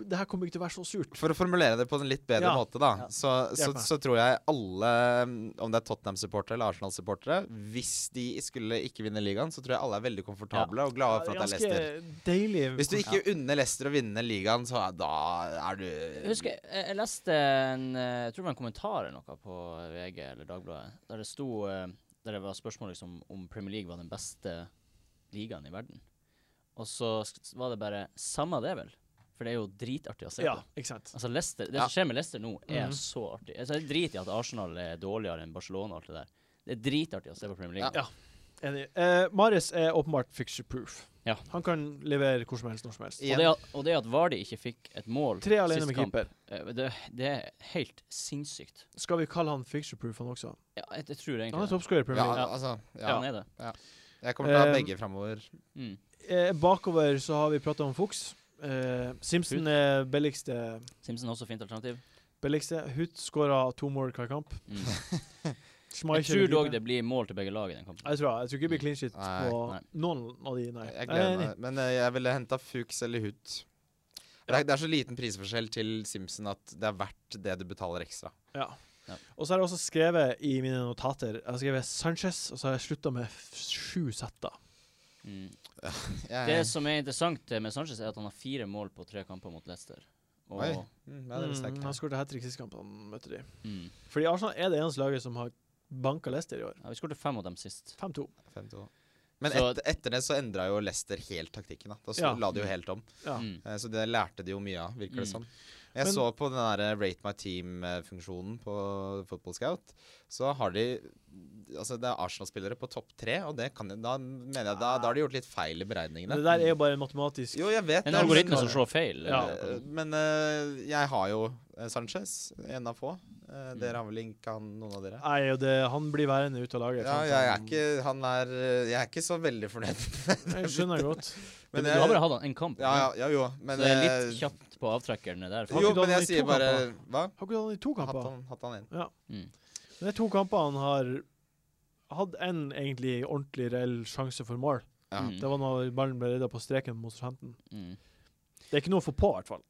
Speaker 1: det her kommer ikke til å være så surt.
Speaker 4: For å formulere det på en litt bedre
Speaker 1: Ja.
Speaker 4: måte, da,
Speaker 2: Ja.
Speaker 4: så, så,
Speaker 1: Hjelp meg.
Speaker 4: så tror jeg alle, mm, om det er Tottenham-supportere eller Arsenal-supportere Hvis de skulle ikke vinne ligaen, så tror jeg alle er veldig komfortable og glade for at det er
Speaker 1: ganske
Speaker 4: Leicester.
Speaker 1: deilig.
Speaker 4: Hvis du ikke unner Leicester å vinne ligaen, så er, da er du
Speaker 2: Jeg husker jeg, jeg leste en eh, jeg tror det var en kommentar eller noe på VG eller Dagbladet, der det sto eh, der det var spørsmål liksom, om Premier League var den beste ligaen i verden. Og så sk- var det bare Samme det, vel. For det er jo dritartig å se
Speaker 1: Ja,
Speaker 2: på.
Speaker 1: ikke sant.
Speaker 2: Altså Leicester, Det
Speaker 4: Ja.
Speaker 2: som skjer med Leicester nå, er
Speaker 1: Mhm.
Speaker 2: så artig. Altså, jeg driter i at Arsenal er dårligere enn Barcelona og alt det der. Det er dritartig å se på Premier League.
Speaker 1: Ja. Enig. Eh, Mares er åpenbart fixture proof.
Speaker 2: Ja.
Speaker 1: Han kan levere hvor som helst, når som helst.
Speaker 2: Og, det at, og det at Vardy ikke fikk et mål
Speaker 1: Tre alene
Speaker 2: sist
Speaker 1: med
Speaker 2: kamp,
Speaker 1: keeper.
Speaker 2: eh, det, det er helt sinnssykt.
Speaker 1: Skal vi kalle han fixture proof, han også?
Speaker 2: Ja, jeg, jeg tror
Speaker 1: Han
Speaker 2: egentlig
Speaker 1: er
Speaker 2: det.
Speaker 1: toppscorer i Premier
Speaker 4: Ja,
Speaker 1: League.
Speaker 4: altså
Speaker 2: Ja,
Speaker 4: ja.
Speaker 2: han er det.
Speaker 4: Jeg kommer til å ha
Speaker 1: Eh,
Speaker 4: begge framover.
Speaker 2: Mm.
Speaker 1: Eh, bakover så har vi prata om Fuchs. Eh, Simpson er billigste.
Speaker 2: Simpson er også fint alternativ.
Speaker 1: billigste. Huth skåra to mål hver kamp.
Speaker 2: Mm. Jeg
Speaker 1: Schmeichel
Speaker 2: tror
Speaker 1: keeper.
Speaker 2: dog det blir mål til begge lag i den kampen.
Speaker 1: Jeg tror, jeg tror ikke det blir clean shit
Speaker 4: Nei.
Speaker 1: på
Speaker 2: Nei.
Speaker 1: noen av de, nei.
Speaker 4: Jeg
Speaker 1: Nei,
Speaker 4: gleder
Speaker 1: nei,
Speaker 4: meg. Men eh, jeg ville henta Fuchs eller Hoot. Det er, det er så liten prisforskjell til Simpson at det er verdt det du betaler ekstra.
Speaker 1: Ja.
Speaker 2: Ja.
Speaker 1: Og så har jeg også skrevet i mine notater Jeg har skrevet Sanchez, og så har jeg slutta med f- sju setter.
Speaker 2: Mm.
Speaker 4: Jeg-
Speaker 2: Det som er interessant med Sanchez, er at han har fire mål på tre kamper mot Leicester. Og,
Speaker 4: Oi. Mm, ja, det visste jeg
Speaker 1: Mm,
Speaker 4: ikke.
Speaker 1: han skåret hat trick sist kamp han møtte de.
Speaker 2: mm.
Speaker 1: Fordi Arsenal er det eneste laget som har banka Leicester i år.
Speaker 2: ja, vi skåret fem av dem sist.
Speaker 1: 5-2.
Speaker 4: 5-2. Men
Speaker 2: Så-
Speaker 4: etter, etter det så endra jo Leicester helt taktikken. Da, da så,
Speaker 1: Ja.
Speaker 4: la de jo helt om.
Speaker 1: Ja.
Speaker 2: Mm.
Speaker 4: Eh, Så det lærte de jo mye av, virker det
Speaker 2: Mm.
Speaker 4: som. Jeg
Speaker 1: Men-
Speaker 4: så på den der eh, Rate my team-funksjonen på Football Scout. Så har de Altså, det er Arsenal-spillere på topp tre, og det kan, da mener jeg da, da har de gjort litt feil i
Speaker 1: Men
Speaker 4: beregningene.
Speaker 1: det der er jo bare en matematisk
Speaker 4: Jo, jeg vet
Speaker 2: En
Speaker 4: det,
Speaker 2: algoritme
Speaker 4: men-
Speaker 2: som slår feil.
Speaker 1: Ja.
Speaker 2: eh,
Speaker 4: Eh, Men eh, jeg har jo eh, Sanchez, en av få. Eh, Dere har vel ikke han, noen av dere?
Speaker 1: Nei, og det, han blir værende ute av laget.
Speaker 4: Ja,
Speaker 1: sant?
Speaker 4: jeg er
Speaker 1: Han-
Speaker 4: ikke Han er eh, Jeg er ikke så veldig fornøyd.
Speaker 1: Jeg skjønner godt.
Speaker 2: Men du har bare hatt han en kamp.
Speaker 4: Ja, ja, ja, jo, men
Speaker 2: så det er
Speaker 4: eh,
Speaker 2: litt kjapt på avtrekkerne der.
Speaker 1: Har
Speaker 4: Jo,
Speaker 1: ikke du
Speaker 4: men
Speaker 1: hatt han i
Speaker 4: jeg sier
Speaker 1: to
Speaker 4: bare
Speaker 1: Har
Speaker 4: Hva?
Speaker 1: ikke du hatt han i to
Speaker 4: Hatt
Speaker 1: kamper?
Speaker 4: han, hatt han inn.
Speaker 2: Mm.
Speaker 1: Men Det er to kamper han har hatt en egentlig ordentlig reell sjanse for mål.
Speaker 4: Ja.
Speaker 2: Mm.
Speaker 1: Det var når ballen ble redda på streken mot Southampton.
Speaker 2: Mm.
Speaker 1: Det er ikke noe å få på, i hvert fall.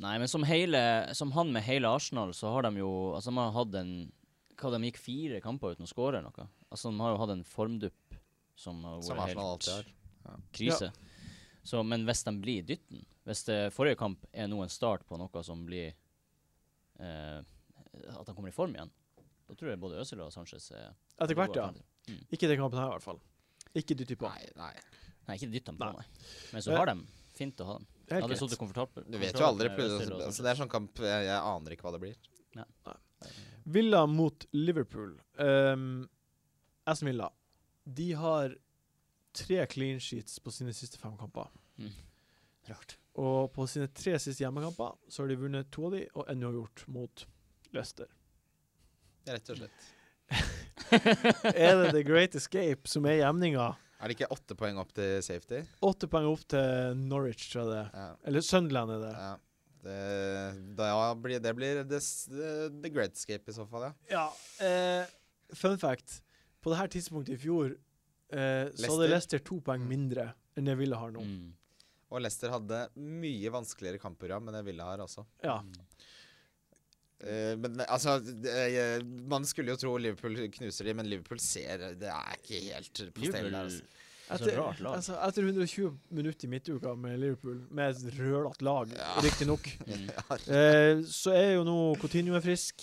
Speaker 2: Nei, men som, hele, som han med hele Arsenal, så har de jo Altså, de har hatt en Hva, de gikk fire kamper uten å skåre eller noe? Altså, de har jo hatt en formdupp som har
Speaker 4: Som
Speaker 2: vært
Speaker 4: Arsenal
Speaker 2: helt
Speaker 4: alltid har.
Speaker 2: krise. Så, men hvis de blir dytten Hvis det forrige kamp er nå en start på noe som blir eh, At de kommer i form igjen, da tror jeg både Øzil og Sanchez er
Speaker 1: Etter hvert, ja.
Speaker 2: gode alternativer.
Speaker 1: Ikke den kampen her, i hvert fall. Ikke dytt på.
Speaker 4: Nei, nei.
Speaker 2: Nei, ikke dytt dem på,
Speaker 1: Nei.
Speaker 2: nei. Men så har de Fint å ha dem. Jeg
Speaker 1: Helt
Speaker 2: hadde
Speaker 1: greit.
Speaker 2: sittet komfortabel.
Speaker 4: Du vet jo aldri.
Speaker 2: med
Speaker 4: plutselig,
Speaker 2: Øzil og
Speaker 4: Altså,
Speaker 2: Sanchez.
Speaker 4: det sånn, eh, er sånn kamp jeg, jeg aner ikke hva det blir.
Speaker 1: Villa mot Liverpool. Um, Aston Villa. De har tre clean sheets på sine siste fem kamper.
Speaker 2: Mm. Rart.
Speaker 1: Og på sine tre siste hjemmekamper så har de vunnet to av de, og ennå gjort mot Leicester.
Speaker 4: Rett og slett.
Speaker 1: er det The Great Escape som er jevninga?
Speaker 4: Er det ikke åtte poeng opp til safety?
Speaker 1: Åtte poeng opp til Norwich, tror jeg det er.
Speaker 4: Ja.
Speaker 1: Eller Sunderland er det.
Speaker 4: ja. Det, da blir, det blir det, s- det- The Great Escape i så fall, ja.
Speaker 1: Ja, eh, Fun fact. På det her tidspunktet i fjor eh, så hadde
Speaker 4: Leicester.
Speaker 1: Leicester to poeng mindre enn det Villa har nå.
Speaker 2: Mm.
Speaker 4: Og Leicester hadde mye vanskeligere kampprogram enn det Villa har også.
Speaker 1: Ja.
Speaker 4: Eh, men altså det, eh, Man skulle jo tro Liverpool knuser de, men Liverpool ser Det er ikke helt på stell der. Altså.
Speaker 2: Liverpool Så
Speaker 1: Etter,
Speaker 2: rart lag.
Speaker 1: altså, etter 120 minutter i midtuka med Liverpool, med et rølete lag,
Speaker 4: Ja.
Speaker 1: riktignok,
Speaker 2: mm.
Speaker 1: eh, så er jo nå Coutinho er frisk.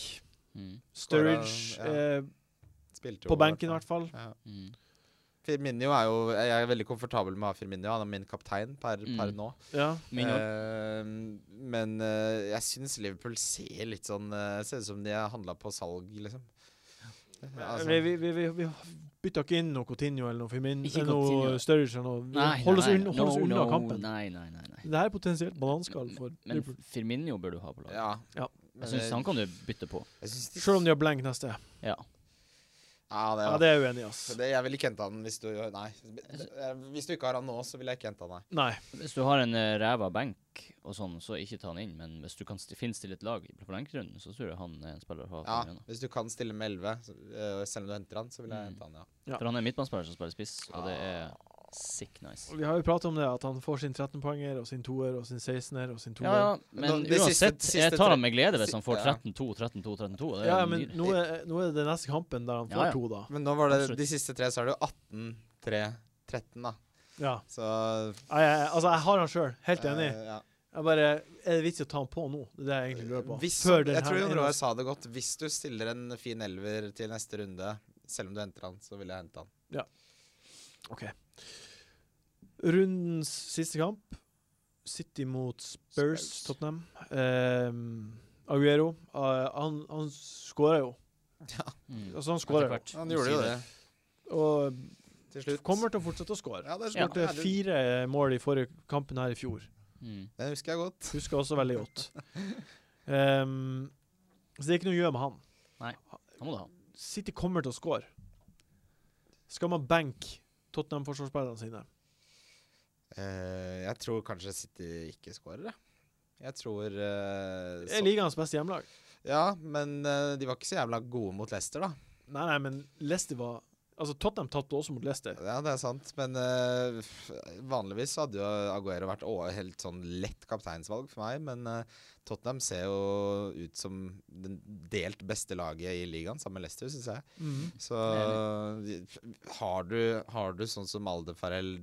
Speaker 2: Mm.
Speaker 1: Sturridge
Speaker 4: Skåra, ja.
Speaker 1: eh, på benken, i hvert fall.
Speaker 4: Ja.
Speaker 2: Mm.
Speaker 4: Firmino er jo Jeg er veldig komfortabel med å ha Firmino. Han er min kaptein per, per
Speaker 2: Mm.
Speaker 4: nå.
Speaker 1: Ja.
Speaker 2: Min òg.
Speaker 4: Eh, men eh, jeg syns Liverpool ser litt sånn eh, Ser ut som de har handla på salg, liksom. Altså,
Speaker 1: Eh, vi, vi, vi, vi, vi bytta ikke inn noe Coutinho eller noe, Firmin,
Speaker 2: Ikke
Speaker 1: eh, noe
Speaker 2: Coutinho.
Speaker 1: Sturridge eller noe. Vi holder oss unna, holder oss unna kampen.
Speaker 2: Nei, nei, nei. nei.
Speaker 1: Det her er potensielt bananskall for
Speaker 2: Men
Speaker 1: Liverpool.
Speaker 2: Firmino bør du ha på laget.
Speaker 4: ja.
Speaker 1: Ja.
Speaker 4: Men,
Speaker 2: Jeg syns han
Speaker 4: eh,
Speaker 2: kan du bytte på.
Speaker 4: jeg synes de,
Speaker 1: Selv om de har blank neste.
Speaker 2: Ja.
Speaker 4: Ja, det,
Speaker 1: Ja, det er jeg uenig i, ass.
Speaker 4: Så det, jeg ville ikke henta han hvis du Nei. Eh, Hvis du ikke har han nå, så ville jeg ikke henta han, nei.
Speaker 1: Nei.
Speaker 2: Hvis du har en eh, ræva benk og sånn, så ikke ta han inn. Men hvis du kan st finne stille et lag på benkrunden, så tror jeg han er en spiller å ha.
Speaker 4: Ja,
Speaker 2: på benkrunden.
Speaker 4: hvis du kan stille med 11, så, øh, selv om du henter han, så vil jeg
Speaker 2: Mm.
Speaker 4: hente han, ja.
Speaker 1: Ja.
Speaker 2: For han er en midtbanespiller som spiller spiss, og det er Sick nice.
Speaker 1: Og Vi har jo pratet om det, at han får sin 13-poenger og sin toer og sin 16-er og sin
Speaker 2: Ja,
Speaker 1: toer.
Speaker 2: ja,
Speaker 4: Nå,
Speaker 2: men
Speaker 4: de siste-
Speaker 2: uansett,
Speaker 4: de
Speaker 2: jeg
Speaker 4: siste
Speaker 2: tar
Speaker 4: tre-
Speaker 2: ham med glede hvis
Speaker 4: si-
Speaker 2: han får
Speaker 4: ja.
Speaker 2: 13-2, 13-2, 13-2. Det er
Speaker 1: Ja,
Speaker 2: jo
Speaker 1: men
Speaker 2: nydelig.
Speaker 1: nå er, nå er det neste kampen der han
Speaker 2: Ja,
Speaker 1: får
Speaker 2: ja.
Speaker 1: to, da.
Speaker 4: Men nå var det
Speaker 2: Absolutt.
Speaker 4: de siste tre, så er det jo 18, 3, 13, da.
Speaker 1: Ja.
Speaker 4: Så
Speaker 1: Jeg, jeg, altså, jeg har han sjøl, helt enig.
Speaker 4: eh, ja.
Speaker 1: Jeg bare, Er det vits i å ta han på nå? Det er det jeg egentlig lurer på.
Speaker 4: Hvis,
Speaker 1: Før den
Speaker 4: jeg tror
Speaker 1: her
Speaker 4: Jon
Speaker 1: ene-
Speaker 4: Roar sa det godt. Hvis du stiller en fin elver til neste runde, selv om du henter han, så vil jeg hente han.
Speaker 1: Rundens siste kamp. City mot Spurs,
Speaker 4: Spurs.
Speaker 1: Tottenham. Ehm, Aguero. eh, han han skåra jo.
Speaker 2: Mm.
Speaker 1: Altså, han
Speaker 2: Etter
Speaker 1: skåra.
Speaker 2: hvert.
Speaker 4: Han gjorde jo det
Speaker 1: Og
Speaker 4: til slutt.
Speaker 1: kommer til å fortsette å skåre.
Speaker 4: Ja, det er
Speaker 1: Skårte
Speaker 4: smart.
Speaker 1: fire mål i forrige kampen her i fjor.
Speaker 2: Mm.
Speaker 4: Det husker jeg godt.
Speaker 1: Husker også veldig godt. Ehm, så det er ikke noe å gjøre med han.
Speaker 2: Han må du ha.
Speaker 1: City kommer til å skåre. Skal man benke Tottenham-forsvarsspillerne sine?
Speaker 4: Eh, jeg tror kanskje City ikke scorer, jeg. Jeg tror eh,
Speaker 1: Det
Speaker 4: så-
Speaker 1: er ligaens beste hjemmelag.
Speaker 4: Ja, men eh, de var ikke så jævla gode mot Leicester, da.
Speaker 1: Nei, nei, men Leicester var Altså, Tottenham tapte også mot Leicester.
Speaker 4: Ja, det er sant, men eh, f- vanligvis hadde jo Aguero vært å, helt sånn lett kapteinsvalg for meg, men eh, Tottenham ser jo ut som den delt beste laget i ligaen, sammen med Leicester, syns jeg. Så de- har du, har du sånn som Aldefarell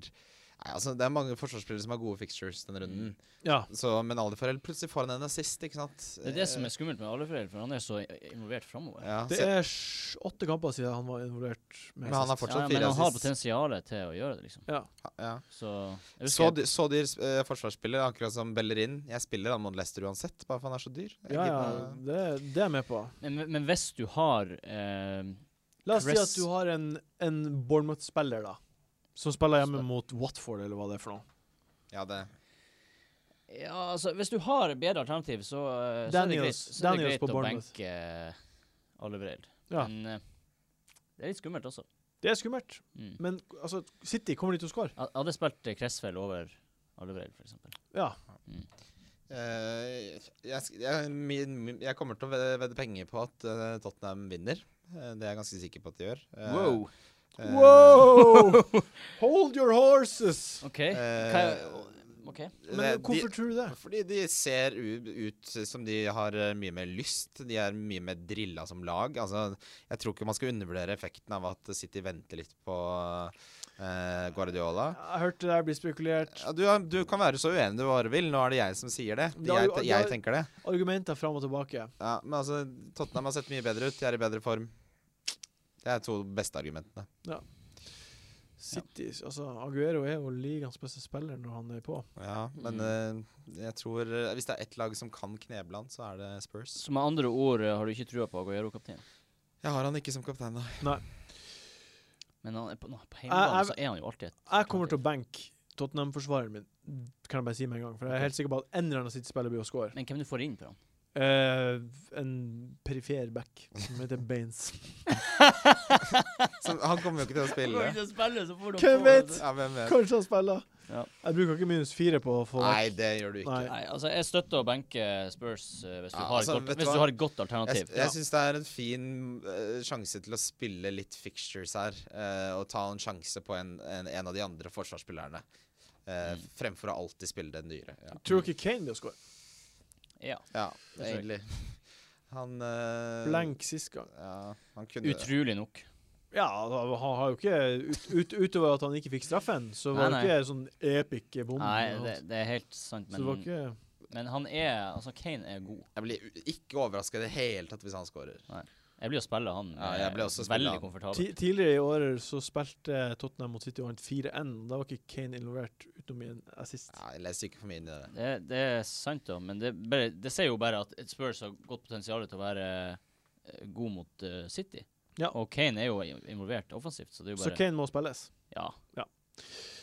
Speaker 4: Nei, altså, det er mange forsvarsspillere som har gode fixtures denne runden,
Speaker 1: Ja.
Speaker 4: så, men Aldefarell plutselig får han en assist, ikke sant?
Speaker 2: Det er det som er skummelt med Alefrel, for han er så involvert framover.
Speaker 4: ja,
Speaker 1: Det
Speaker 4: så-
Speaker 1: er sj- åtte kamper siden han var involvert.
Speaker 4: Men han har
Speaker 1: sist.
Speaker 4: fortsatt
Speaker 2: men
Speaker 4: fire
Speaker 2: han har
Speaker 4: assist.
Speaker 2: potensialet til å gjøre det, liksom.
Speaker 1: Ja.
Speaker 4: ja.
Speaker 2: Så jeg
Speaker 4: Så,
Speaker 2: husker,
Speaker 4: dy så dyr eh, forsvarsspiller, akkurat som Bellerin. Jeg spiller han mot Leicester uansett, bare for han er så dyr. Jeg
Speaker 1: Ja, ja,
Speaker 4: gidder-
Speaker 1: det, det er jeg med på.
Speaker 2: men, men- men hvis du har eh,
Speaker 1: La oss si at
Speaker 2: Chris-
Speaker 1: du har en, en Bournemouth-spiller, da. Som spiller hjemme mot Watford, eller hva det er for noe.
Speaker 4: Ja, det
Speaker 2: Ja, altså, hvis du har bedre alternativ, så, eh, så er det greit,
Speaker 1: Daniels-
Speaker 2: så er det
Speaker 1: Daniels
Speaker 2: greit
Speaker 1: på
Speaker 2: å
Speaker 1: Bournemouth.
Speaker 2: benke Alefrel.
Speaker 1: Ja.
Speaker 2: Men eh, det er litt skummelt også.
Speaker 1: Det er skummelt,
Speaker 2: Mm.
Speaker 1: men altså, City kommer de til å skåre?
Speaker 2: Jeg jeg hadde spilt eh, Cresswell over Alefrel, for eksempel.
Speaker 1: Ja.
Speaker 4: Eh, jeg, sk- jeg, min, min, jeg kommer til å vedde, vedde penger på at eh, Tottenham vinner. Eh, det er jeg ganske sikker på at de gjør. Eh, eh,
Speaker 1: Wow! Hold your horses!
Speaker 2: OK.
Speaker 4: eh,
Speaker 2: Hva- OK.
Speaker 1: Men
Speaker 4: det-
Speaker 1: hvorfor tror du det?
Speaker 4: de, fordi de ser u, ut som de har eh, mye mer lyst. De er mye mer drilla som lag. Altså, jeg tror ikke man skal undervurdere effekten av at City venter litt på eh, Guardiola.
Speaker 1: Jeg hørte det her bli spekulert.
Speaker 4: Ja, du, er- du kan være så uenig du bare vil. Nå er det jeg som sier det.
Speaker 1: Det har
Speaker 4: Jeg,
Speaker 1: jo-
Speaker 4: te-
Speaker 1: det har-
Speaker 4: jeg tenker det.
Speaker 1: Argumenter fram og tilbake.
Speaker 4: Ja, men altså, Tottenham har sett mye bedre ut. De er i bedre form. Det er to beste argumentene.
Speaker 1: City Altså, Aguero er jo ligaens beste spiller når han er på.
Speaker 4: Ja, men eh, jeg tror eh, Hvis det er ett lag som kan kneble han, så er det Spurs.
Speaker 2: Så med andre ord eh, har du ikke trua på Aguero-kapteinen.
Speaker 4: Jeg har han ikke som kaptein, da.
Speaker 2: Men han er på, nå, på
Speaker 1: Jeg-
Speaker 2: hjemmebane
Speaker 1: jeg-
Speaker 2: så er han jo alltid et
Speaker 1: Jeg kommer til å benke Tottenham-forsvareren min, kan jeg bare si med en gang. For jeg er helt sikker på at en eller annen City-spiller blir å score.
Speaker 2: Men hvem du får inn på han?
Speaker 1: Eh, en perifer back som heter Baines.
Speaker 4: Så han kommer jo ikke til å spille.
Speaker 2: til å spille, så får
Speaker 1: Hvem vet?
Speaker 4: Ja, hvem vet?
Speaker 1: Kanskje han spiller?
Speaker 2: Ja.
Speaker 1: Jeg bruker ikke minus fire på å få
Speaker 4: Nei, det gjør du ikke.
Speaker 1: Nei.
Speaker 2: Nei, altså jeg støtter å benke Spurs eh, hvis, du,
Speaker 4: Ja,
Speaker 2: har
Speaker 4: altså,
Speaker 2: et
Speaker 4: vet
Speaker 2: godt,
Speaker 4: du
Speaker 2: hvis
Speaker 4: hva?
Speaker 2: du har et godt
Speaker 4: Jeg,
Speaker 2: alternativ.
Speaker 4: jeg syns det er en fin eh, sjanse til å spille litt fixtures her. eh, og ta en sjanse på en, en, en av de andre forsvarsspillerne. eh,
Speaker 2: Mm.
Speaker 4: Fremfor å alltid spille den dyre. Ja.
Speaker 1: Tror dere Kane blir å score?
Speaker 2: Ja.
Speaker 4: Ja,
Speaker 2: tror jeg.
Speaker 4: egentlig. Han eh,
Speaker 1: Blank sist gang.
Speaker 4: Ja, han kunne
Speaker 2: Utrolig nok.
Speaker 1: Ja, han har jo ikke ut, ut, Utover at han ikke fikk straffen, så var det
Speaker 2: Nei, nei.
Speaker 1: ikke sånn epic bom.
Speaker 2: Nei, det, det er helt sant,
Speaker 1: så det var
Speaker 2: men,
Speaker 1: ikke
Speaker 2: men han er Altså, Kane er god.
Speaker 4: Jeg blir u- ikke overraska i det hele tatt hvis han scorer.
Speaker 2: Jeg blir å spille han
Speaker 4: Ja,
Speaker 2: eh,
Speaker 4: jeg blir også å spille
Speaker 2: veldig
Speaker 4: han.
Speaker 2: komfortabel.
Speaker 1: ti, Tidligere i året så spilte Tottenham mot City og vant 4-1. Da var ikke Kane involvert utenom i en assist.
Speaker 4: Ja, jeg leser ikke for mye inn i det.
Speaker 2: Det, det er sant, da, men det, bare, det sier jo bare at et Spurs har godt potensial til å være eh, god mot eh, City.
Speaker 1: Ja.
Speaker 2: Og Kane er jo i- involvert offensivt, så det er jo
Speaker 1: Så
Speaker 2: bare
Speaker 1: Kane må spilles.
Speaker 2: Ja.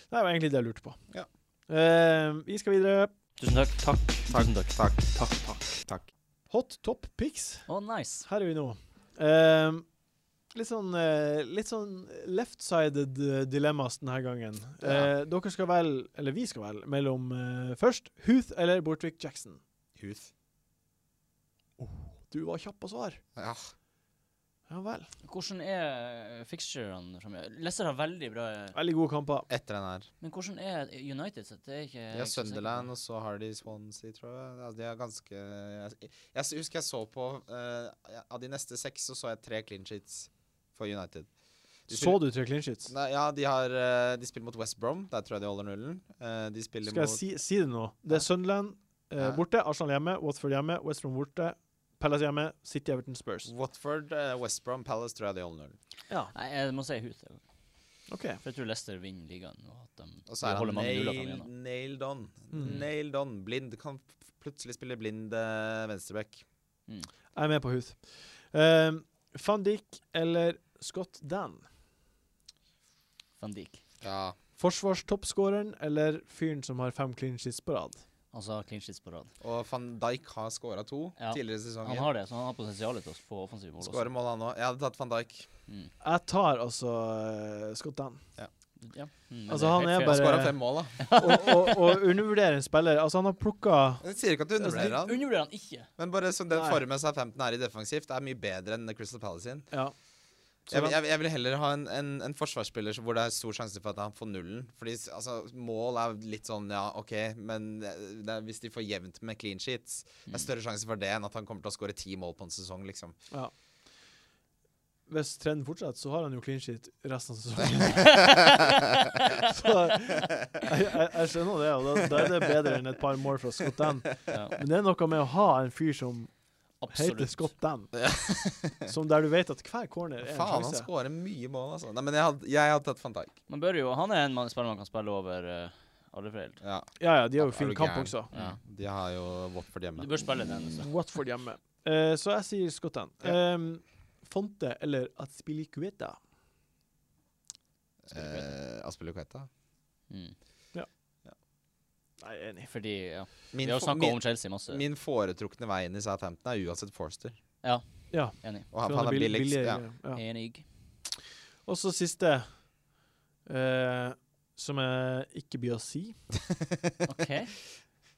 Speaker 1: Det var egentlig det jeg lurte på.
Speaker 4: Ja.
Speaker 1: Eh, vi skal videre.
Speaker 2: Tusen takk. Takk. Tusen takk.
Speaker 4: Takk, takk, takk.
Speaker 1: Hot top picks.
Speaker 2: Å, nice.
Speaker 1: Her er vi nå. Ehm, litt sånn, eh, litt sånn left-sided eh, dilemmas denne gangen. Eh, dere skal vel, eller vi skal vel, mellom eh, først Huth eller Bortvik Jackson.
Speaker 4: Huth.
Speaker 1: Du var kjapp på svar.
Speaker 4: Ja.
Speaker 1: Ja vel.
Speaker 2: Hvordan er eh, fixturene framover? Leicester har veldig bra eh,
Speaker 1: Veldig gode kamper.
Speaker 4: Etter den her.
Speaker 2: Men hvordan er United sitt? Det er ikke
Speaker 4: De
Speaker 2: jeg er Eh, ikke
Speaker 4: har
Speaker 2: så sikker på.
Speaker 4: Sunderland, og så har de Swansea, tror jeg. Ja, de er ganske jeg, jeg s- husker jeg så på eh, Av de neste seks så så jeg tre clean sheets for United. De
Speaker 1: Så
Speaker 4: spiller-
Speaker 1: du tre clean sheets?
Speaker 4: Nei, ja, de, har, eh, de spiller mot West Brom. Der tror jeg de holder nullen. Eh, de spiller
Speaker 1: Skal jeg
Speaker 4: mot
Speaker 1: si, si det nå? Det er Sunderland eh,
Speaker 4: Ja.
Speaker 1: borte, Arsenal hjemme, Watford hjemme, West Brom borte, Palace hjemme, City Everton Spurs.
Speaker 4: Watford, eh, West Brom, Palace tror jeg de holder nullen.
Speaker 2: Nei, jeg må si Huth. jeg.
Speaker 1: OK.
Speaker 2: For jeg tror Leicester vinner ligaen. Og at de,
Speaker 4: Og så er
Speaker 2: de
Speaker 4: han
Speaker 2: holder mange nuller
Speaker 4: nailed,
Speaker 2: framover.
Speaker 4: nailed on.
Speaker 1: Mm.
Speaker 4: Nailed on. Blind kan f- plutselig spille blind uh, venstreback.
Speaker 1: Jeg er med på Huth. Um, Van Dijk eller Scott Dan?
Speaker 2: Van Dijk.
Speaker 4: Ja.
Speaker 1: Forsvarstoppskåreren eller fyren som har fem clean sheets på rad?
Speaker 2: Altså clean sheets på rad.
Speaker 4: Og van Dijk har scora to
Speaker 2: Ja.
Speaker 4: tidligere i
Speaker 2: Han
Speaker 4: sesongen.
Speaker 2: har det, så han har potensialet til å få offensiv mål også.
Speaker 4: Skårer mål, han òg. Jeg hadde tatt van Dijk.
Speaker 2: Mm.
Speaker 1: Jeg tar altså eh, Scott Dan.
Speaker 2: Ja. Mm, men
Speaker 1: Altså,
Speaker 2: det er
Speaker 1: han
Speaker 2: helt
Speaker 1: er
Speaker 2: fair.
Speaker 1: bare-
Speaker 4: Han skåra fem mål, da.
Speaker 1: Og, og, og undervurderer en spiller. Altså, han har plukka
Speaker 4: Jeg sier ikke at du undervurderer
Speaker 2: Altså,
Speaker 4: han,
Speaker 2: Undervurderer han ikke.
Speaker 4: men bare som den
Speaker 1: Nei.
Speaker 4: formen Southampton er i defensivt, er mye bedre enn Crystal Palace sin.
Speaker 1: Ja. Så
Speaker 4: Jeg,
Speaker 1: da-
Speaker 4: jeg, jeg vil heller ha en, en, en forsvarsspiller som- hvor det er stor sjanse for at han får nullen. Fordi s- altså, mål er litt sånn ja, OK, men eh, det er, hvis de får jevnt med clean sheets, det
Speaker 2: Mm.
Speaker 4: er større sjanse for det enn at han kommer til å skåre ti mål på en sesong, liksom.
Speaker 1: ja. Hvis trenden fortsetter, så har han jo clean sheet resten av sesongen. så jeg, jeg, jeg skjønner det, og da, da er det bedre enn et par mål fra Scott Dan.
Speaker 2: Ja,
Speaker 1: Men det er noe med å ha en fyr som heter
Speaker 2: absolutt.
Speaker 1: Scott Dan, som der du vet at hver corner er en
Speaker 4: Faen, han
Speaker 1: sjanse.
Speaker 4: skårer mye mål, altså. Nei, men jeg hadde, jeg hadde tatt van Dijk.
Speaker 2: Man bør jo, han er en mann- spiller man kan spille over eh, alle foreldre.
Speaker 4: Ja.
Speaker 1: Ja, ja, de har jo
Speaker 4: Er
Speaker 1: fin
Speaker 4: du
Speaker 1: kamp
Speaker 4: gæren?
Speaker 1: også.
Speaker 4: ja. De har jo Watford
Speaker 2: Mm. Du
Speaker 4: hjemme.
Speaker 2: bør spille den. Så.
Speaker 1: Watford hjemme. Eh, så jeg sier Scott Dan.
Speaker 4: Ja.
Speaker 1: Em, Fonte eller Atspilicueta?
Speaker 4: Eh, Aspeluketa.
Speaker 2: Mm.
Speaker 1: Nei, jeg er enig.
Speaker 2: Fordi, ja. Vi har jo snakka om Chelsea masse.
Speaker 4: Min foretrukne vei inn i Southampton er uansett Forster.
Speaker 1: Ja.
Speaker 2: Enig.
Speaker 4: Og han,
Speaker 1: for
Speaker 4: han er
Speaker 1: bill-
Speaker 4: billigst. Ja.
Speaker 1: billigere, ja.
Speaker 2: Enig.
Speaker 1: Og så siste, eh, som jeg ikke blir å si,
Speaker 2: OK.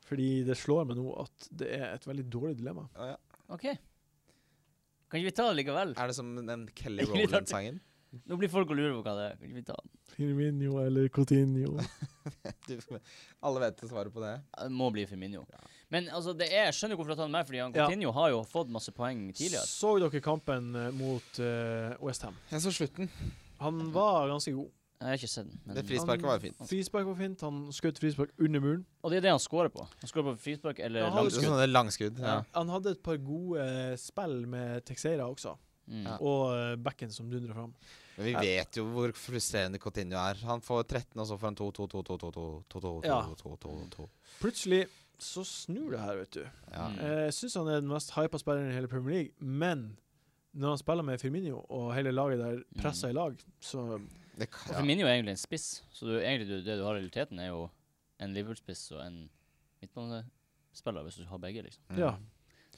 Speaker 1: fordi det slår meg nå at det er et veldig dårlig dilemma.
Speaker 4: Å, ja.
Speaker 2: ok. Kan ikke vi ta det likevel?
Speaker 4: Er det som den Kelly
Speaker 2: Ikke litt artig.
Speaker 4: Rowland-sangen?
Speaker 2: Nå blir folk og lurer på hva det er. Kan ikke vi ta den?
Speaker 1: Firmino eller Coutinho?
Speaker 4: Du- Alle vet svaret på det.
Speaker 2: Det må bli Firmino. Men altså, det er, jeg skjønner jo hvorfor jeg tar den med, fordi han
Speaker 1: Ja.
Speaker 2: Coutinho har jo fått masse poeng tidligere.
Speaker 1: Så dere kampen eh, mot eh, West Ham?
Speaker 4: Jeg så slutten. Mhm.
Speaker 1: Han var ganske god.
Speaker 2: Jeg har ikke sett den.
Speaker 4: Det
Speaker 2: Men,
Speaker 4: frisparket var jo fint.
Speaker 1: Frispark var fint. Han skjøt frispark under muren.
Speaker 2: og det er det han scorer på. Han scorer på frispark eller
Speaker 1: Ja, han-
Speaker 4: Langskudd.
Speaker 2: langskudd.
Speaker 4: Sånne langskudd. Ja.
Speaker 2: Ja.
Speaker 1: Han hadde et par gode eh, spill med Texeira også,
Speaker 2: Mm.
Speaker 4: Ja.
Speaker 1: og eh, backen som dundrer fram.
Speaker 4: Men vi vet jo hvor frustrerende Coutinho er. Han får 13, og så får han 2, 2, 2, 2, 2, 2, 2, 2,
Speaker 1: Ja.
Speaker 4: 2, 2, 2.
Speaker 1: Plutselig så snur det her, vet du.
Speaker 4: Ja.
Speaker 2: Mm.
Speaker 1: Eh, Jeg syns han er den mest hypa spilleren i hele Premier League, men når han spiller med Firmino og hele laget der presser i lag, så
Speaker 4: Det,
Speaker 2: Og
Speaker 4: kan- ja.
Speaker 2: Firmino er egentlig en spiss, så du, egentlig du, det du har i realiteten, er jo en Liverpool-spiss og en midtbanespiller, hvis du har begge, liksom.
Speaker 4: Mm.
Speaker 1: ja.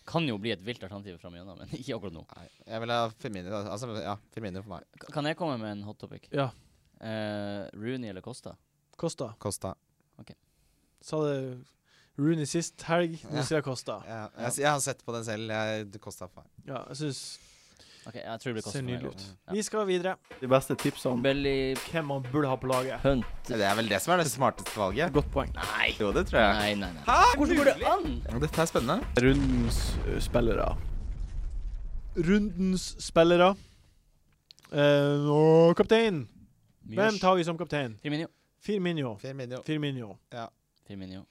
Speaker 2: Kan jo bli et vilt alternativ fram igjennom, men ikke akkurat nå.
Speaker 4: Nei, Jeg vil ha Firmino. Altså, ja, Firmino for meg.
Speaker 2: K- Kan jeg komme med en hot topic?
Speaker 1: Ja.
Speaker 2: Eh, Rooney eller Costa?
Speaker 1: Kosta.
Speaker 4: Costa.
Speaker 1: Sa det Rooney sist helg, nå
Speaker 4: Ja.
Speaker 1: sier jeg Kosta.
Speaker 4: Ja, jeg, jeg har sett på den selv. Jeg, Costa for meg.
Speaker 1: Ja, jeg syns
Speaker 2: Ok, jeg tror det blir Costa.
Speaker 1: ser
Speaker 2: for meg
Speaker 1: nydelig
Speaker 2: også.
Speaker 1: ut.
Speaker 2: Ja.
Speaker 1: Vi skal videre. De beste tipsene om
Speaker 2: Belly
Speaker 1: hvem man burde ha på laget.
Speaker 2: Hunt.
Speaker 4: Det er vel det som er det smarteste valget.
Speaker 1: Godt poeng.
Speaker 4: Nei. Jo, det tror jeg.
Speaker 2: Nei, nei, nei. Hvordan går det an?
Speaker 4: Dette er spennende.
Speaker 1: Rundens ø, spillere. Rundens spillere. Eh, og kaptein! Hvem tar vi som kaptein?
Speaker 2: Firmino.
Speaker 1: Firmino.
Speaker 4: Firmino
Speaker 1: Firmino.
Speaker 2: Firmino.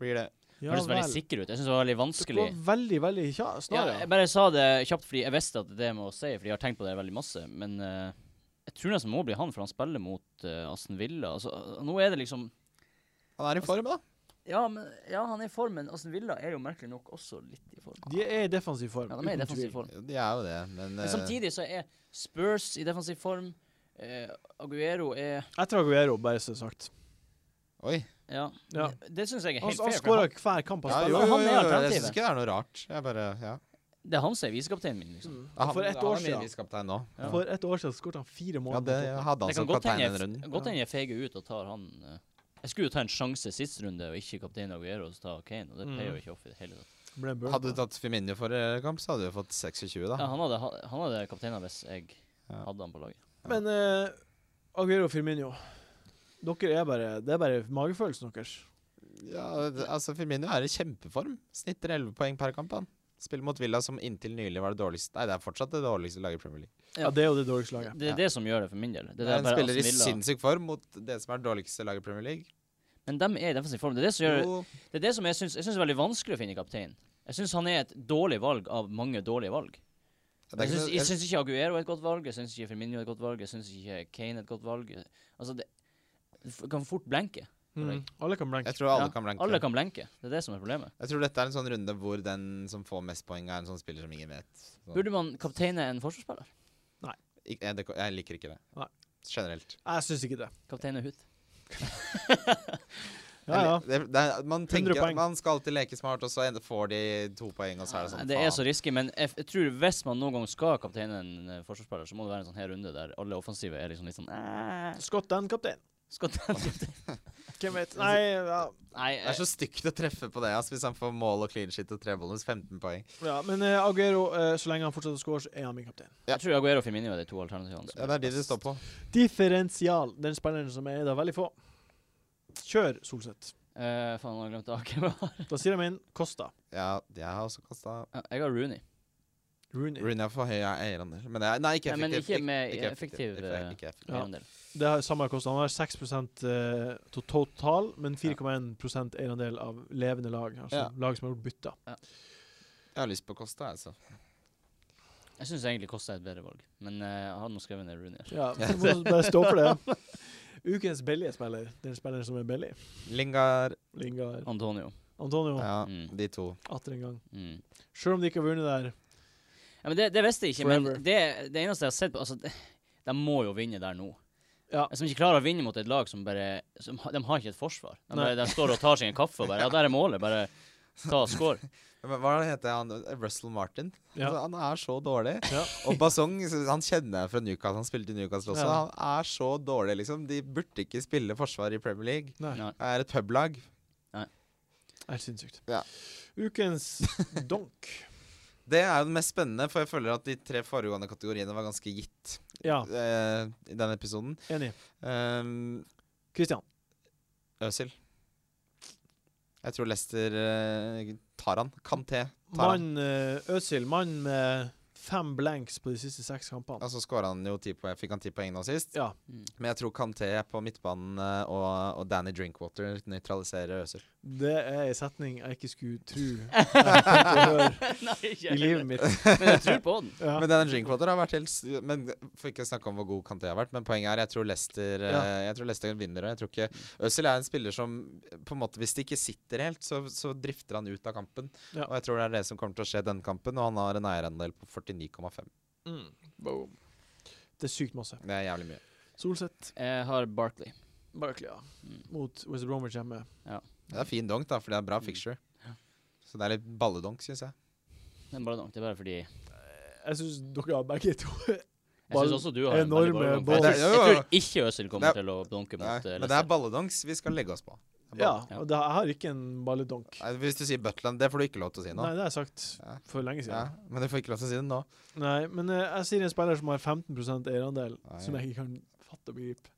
Speaker 4: blir det.
Speaker 1: Ja
Speaker 2: Hørtes veldig
Speaker 1: vel.
Speaker 2: sikker ut. Jeg syns det var veldig
Speaker 1: Det
Speaker 2: vanskelig.
Speaker 1: var veldig, veldig kja,
Speaker 2: Ja,
Speaker 1: snar, ja.
Speaker 2: jeg bare sa det kjapt fordi jeg visste at det må si, fordi jeg har tenkt på det veldig masse. Men eh, jeg tror nesten det må bli han, for han spiller mot eh, Aston Villa. Altså, eh, nå er det liksom
Speaker 4: Han er i form, da.
Speaker 2: ja, men, ja, han er i form, men Aston Villa er jo merkelig nok også litt i form.
Speaker 1: De er Eh. i defensiv form.
Speaker 2: Ja, de er i
Speaker 1: uten
Speaker 2: defensiv
Speaker 1: tvil.
Speaker 2: form.
Speaker 4: De er jo det, men,
Speaker 2: Men samtidig så er Spurs i defensiv form. eh, Aguero er
Speaker 1: Jeg tror Aguero, bare så sagt.
Speaker 4: eh, Oi.
Speaker 2: Ja.
Speaker 1: Ja.
Speaker 2: Det syns jeg er
Speaker 1: Han,
Speaker 2: helt
Speaker 1: han
Speaker 2: fair. for
Speaker 1: skårer
Speaker 2: Han,
Speaker 1: hver kamp han
Speaker 4: Ja, jo,
Speaker 1: spiller.
Speaker 4: jo, jo,
Speaker 2: han er
Speaker 4: jo, jeg
Speaker 2: alternativet.
Speaker 4: syns ikke det er noe rart. Jeg bare, ja.
Speaker 2: det er han som er visekapteinen min, liksom.
Speaker 1: Mm. Og For ett år
Speaker 4: Han er min
Speaker 1: siden
Speaker 4: viskaptein nå.
Speaker 2: Ja.
Speaker 1: For ett år siden skåret han fire mål.
Speaker 4: Ja, altså, det
Speaker 1: mot Tottenham.
Speaker 4: hadde
Speaker 2: Det
Speaker 4: han
Speaker 2: kan
Speaker 4: som
Speaker 2: godt
Speaker 4: kaptein
Speaker 2: hende
Speaker 4: en
Speaker 2: jeg,
Speaker 4: runde.
Speaker 2: godt hende jeg feger ut og tar han eh. Jeg skulle jo ta en sjanse sist runde og ikke kaptein Aguero og så ta Kane, og det
Speaker 1: Mm.
Speaker 2: pleier jo ikke opp i det hele tatt.
Speaker 1: Ble burnt,
Speaker 4: Hadde du
Speaker 1: da.
Speaker 4: tatt Firmino forrige kamp, så hadde du fått 26, da.
Speaker 2: Ja, han hadde, ha- han hadde kapteina hvis jeg
Speaker 4: Ja.
Speaker 2: hadde han på laget.
Speaker 1: Men eh, Aguero og Firmino, dere er bare, det er bare magefølelsen deres.
Speaker 4: Ja, det- altså Firmino er i kjempeform. Snitter 11 poeng per kamp. han Spiller mot Villa, som inntil nylig var det dårligste Nei, det er fortslatt det dårligste laget i Premier League.
Speaker 2: Ja.
Speaker 1: Ja, det er jo det dårligste laget.
Speaker 2: Det
Speaker 4: Ja.
Speaker 2: er det som gjør det for min del. Det
Speaker 4: Det
Speaker 2: er
Speaker 4: er en
Speaker 2: bare
Speaker 4: spiller i
Speaker 2: Aston Villa.
Speaker 4: sinnssyk form mot det som er det dårligste laget i Premier League.
Speaker 2: Men dem er i defensiv form. Det er det som, gjør,
Speaker 4: Jo,
Speaker 2: det er det som jeg syns jeg synes er veldig vanskelig å finne i kaptein. Jeg syns han er et dårlig valg av mange dårlige valg.
Speaker 4: det er
Speaker 2: Jeg
Speaker 4: ikke
Speaker 2: syns,
Speaker 4: noe-
Speaker 2: jeg syns ikke Aguero er et godt valg, jeg syns ikke Firmino er et godt valg, jeg syns ikke Kane er et godt valg. Altså, det det f- kan fort blenke.
Speaker 1: Mm. Alle kan blanke.
Speaker 4: jeg tror alle
Speaker 2: Ja,
Speaker 4: kan blanke.
Speaker 2: Alle kan blenke. Det er det som er problemet.
Speaker 4: Jeg tror dette er en sånn runde hvor den som får mest poeng, er en sånn spiller som ingen vet. Sånn.
Speaker 2: Burde man kapteine en forsvarsspiller?
Speaker 4: Ik- Jeg, det- jeg liker ikke det.
Speaker 1: Nei.
Speaker 4: Generelt.
Speaker 1: Jeg syns ikke det.
Speaker 2: Kapteine Hut?
Speaker 1: Ja, ja.
Speaker 4: Jeg li- Det, det er, man
Speaker 1: 100
Speaker 4: tenker
Speaker 1: poeng.
Speaker 4: at man skal alltid leke smart, og så en- får de to poeng, og så er det sånn
Speaker 2: det er
Speaker 4: faen.
Speaker 2: så risky, men jeg, f- jeg tror hvis man noen gang skal kapteine en eh, forsvarsspiller, så må det være en sånn her runde der alle offensive er liksom litt sånn "Æ,
Speaker 1: Scott Dan, kaptein.
Speaker 2: Skal den kaptein-"
Speaker 1: Hvem vet? Nei, ja.
Speaker 2: Nei,
Speaker 4: Det er
Speaker 2: jeg,
Speaker 4: så stygt å treffe på det ass, hvis han får mål og clean shit og tre bonus. 15 poeng.
Speaker 1: ja. Men eh, Aguero, eh, så lenge han fortsetter å score, så er han min kaptein.
Speaker 4: ja.
Speaker 2: jeg tror Aguero og Firmino er de to alternativene. som
Speaker 4: Ja, Det er de
Speaker 2: best.
Speaker 4: det står på.
Speaker 1: Differensial. Den spilleren som er da veldig få. Kjør Solseth.
Speaker 2: Eh, faen, nå har jeg glemt hvem jeg har.
Speaker 1: Da sier jeg min Costa.
Speaker 4: Ja, jeg har også kasta
Speaker 2: Ja, Jeg har Rooney.
Speaker 1: Rooney.
Speaker 4: Rooney er for høy eierandel. Men jeg, nei, ikke
Speaker 2: Nei, men
Speaker 4: effektiv.
Speaker 2: ikke med effektiv,
Speaker 4: Ikke,
Speaker 2: eh,
Speaker 4: ikke effektiv.
Speaker 1: Ja.
Speaker 2: eierandel.
Speaker 1: Det er samme Costa. Han har 6 eh, to- total, men 4,1 eierandel av levende lag. Altså
Speaker 4: Ja.
Speaker 1: lag som har gjort bytter.
Speaker 4: Jeg har lyst på Costa, altså.
Speaker 2: Jeg syns egentlig Kosta er et bedre valg, men eh, jeg har nå skrevet ned Rooney. her.
Speaker 1: Ja, så må du bare stå for det. Ukens billige spiller. Den spilleren som er billig.
Speaker 4: Lingard
Speaker 1: Lingard.
Speaker 2: Antonio.
Speaker 1: Antonio,
Speaker 4: Ja,
Speaker 2: Mm.
Speaker 4: de to.
Speaker 1: atter en gang.
Speaker 2: Mm.
Speaker 1: Selv om de ikke har vunnet der.
Speaker 2: Ja, men det, det visste jeg ikke,
Speaker 1: Forever.
Speaker 2: men det, det eneste jeg har sett på altså, det, De må jo vinne der nå.
Speaker 1: Ja.
Speaker 2: Som ikke klarer å vinne mot et lag som bare som, ha- De har ikke et forsvar. De,
Speaker 1: Nei.
Speaker 2: bare, de står og tar seg en kaffe og bare Ja, der er målet. Bare ta og score.
Speaker 4: Men Hva heter han? Russell Martin?
Speaker 1: Ja.
Speaker 4: Altså, han er så dårlig.
Speaker 1: Ja.
Speaker 4: Og Basong han kjenner jeg fra Newcastle. Han spilte i Newcastle også.
Speaker 1: Ja.
Speaker 4: Han er så dårlig, liksom. De burde ikke spille forsvar i Premier League.
Speaker 1: Nei,
Speaker 2: Nei.
Speaker 4: Det er et publag.
Speaker 1: helt sinnssykt.
Speaker 4: Ja.
Speaker 1: Ukens donk.
Speaker 4: Det er jo det mest spennende, for jeg føler at de tre foregående kategoriene var ganske gitt
Speaker 1: Ja,
Speaker 4: eh, i denne episoden.
Speaker 1: enig.
Speaker 4: Um,
Speaker 1: Christian.
Speaker 4: Øsil. Jeg tror Lester tar han. Kanté tar han.
Speaker 1: Mann eh, Øsil, mann med fem blanks på de siste seks kampene.
Speaker 4: Og så skåra han jo ti poeng. Fikk han ti poeng nå sist.
Speaker 1: Ja.
Speaker 2: Mm.
Speaker 4: Men jeg tror Kanté på midtbanen eh, og, og Danny Drinkwater nøytraliserer Øsil.
Speaker 1: Det er en setning jeg ikke skulle tro jeg kom til å høre
Speaker 2: Nei, ikke
Speaker 1: i livet mitt.
Speaker 2: Men jeg tror på den.
Speaker 1: Ja.
Speaker 4: Men Danny Drinkwater har vært helt s- Men For ikke å snakke om hvor god Kanté har vært, men poenget er jeg tror Lester Jeg tror Leicester vinner, og jeg tror ikke Øsil er en spiller som på en måte Hvis det ikke sitter helt, så, så drifter han ut av kampen.
Speaker 1: Ja.
Speaker 4: Og jeg tror det er det som kommer til å skje denne kampen, og han har en eierandel på 49,5.
Speaker 1: Mm. Boom. Det er sykt masse.
Speaker 4: Det er jævlig mye.
Speaker 1: Solseth,
Speaker 2: Jeg har Barkley.
Speaker 1: Barkley, ja.
Speaker 2: Mm.
Speaker 1: Mot West Bromwich hjemme.
Speaker 4: Det er fin donk, da, for det er bra
Speaker 1: Mm.
Speaker 4: fixture. Så det er litt balledonk, syns jeg.
Speaker 2: Det er bare nok. Det er bare fordi Jeg
Speaker 1: Jeg syns dere har begge to Ball-
Speaker 2: syns også du har en veldig
Speaker 1: enorme
Speaker 2: bra gang.
Speaker 1: ball.
Speaker 2: Jeg tror-
Speaker 4: Nei,
Speaker 2: Jeg
Speaker 4: jo, jo.
Speaker 2: tror ikke Øzil kommer
Speaker 4: Nei.
Speaker 2: til å dunke mot
Speaker 4: Nei,
Speaker 2: eh,
Speaker 4: men det er
Speaker 2: Leicester.
Speaker 4: balledonks vi skal legge oss på. Det er
Speaker 1: Ja,
Speaker 4: ball-
Speaker 2: Ja.
Speaker 1: og det, jeg har ikke en balledonk.
Speaker 4: Nei, Hvis du sier Butland, det får du ikke lov til å si nå.
Speaker 1: Nei, det har jeg sagt
Speaker 4: Ja.
Speaker 1: for lenge
Speaker 4: Ja,
Speaker 1: siden.
Speaker 4: men du får ikke lov til å si det nå.
Speaker 1: Nei, men eh, jeg sier en spiller som har 15 eierandel,
Speaker 4: Nei.
Speaker 1: som jeg ikke kan fatte og begripe.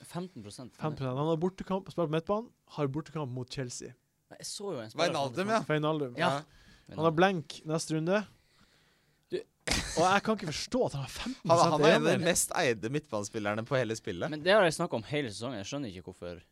Speaker 2: 15
Speaker 1: 5
Speaker 2: Nei,
Speaker 1: Han har bortekamp, spiller på midtbanen, har bortekamp mot Chelsea.
Speaker 2: Jeg så jo en spiller
Speaker 4: Wijnaldum, ja.
Speaker 1: Feinaldum.
Speaker 2: Ja.
Speaker 1: Han har blank neste runde.
Speaker 2: Du-
Speaker 1: Og jeg kan ikke forstå at han har 15
Speaker 4: Han, han er en av de
Speaker 1: eierandel.
Speaker 4: mest eide midtbanespillerne på hele spillet.
Speaker 2: Men det har jeg snakka om hele sesongen. Jeg skjønner ikke hvorfor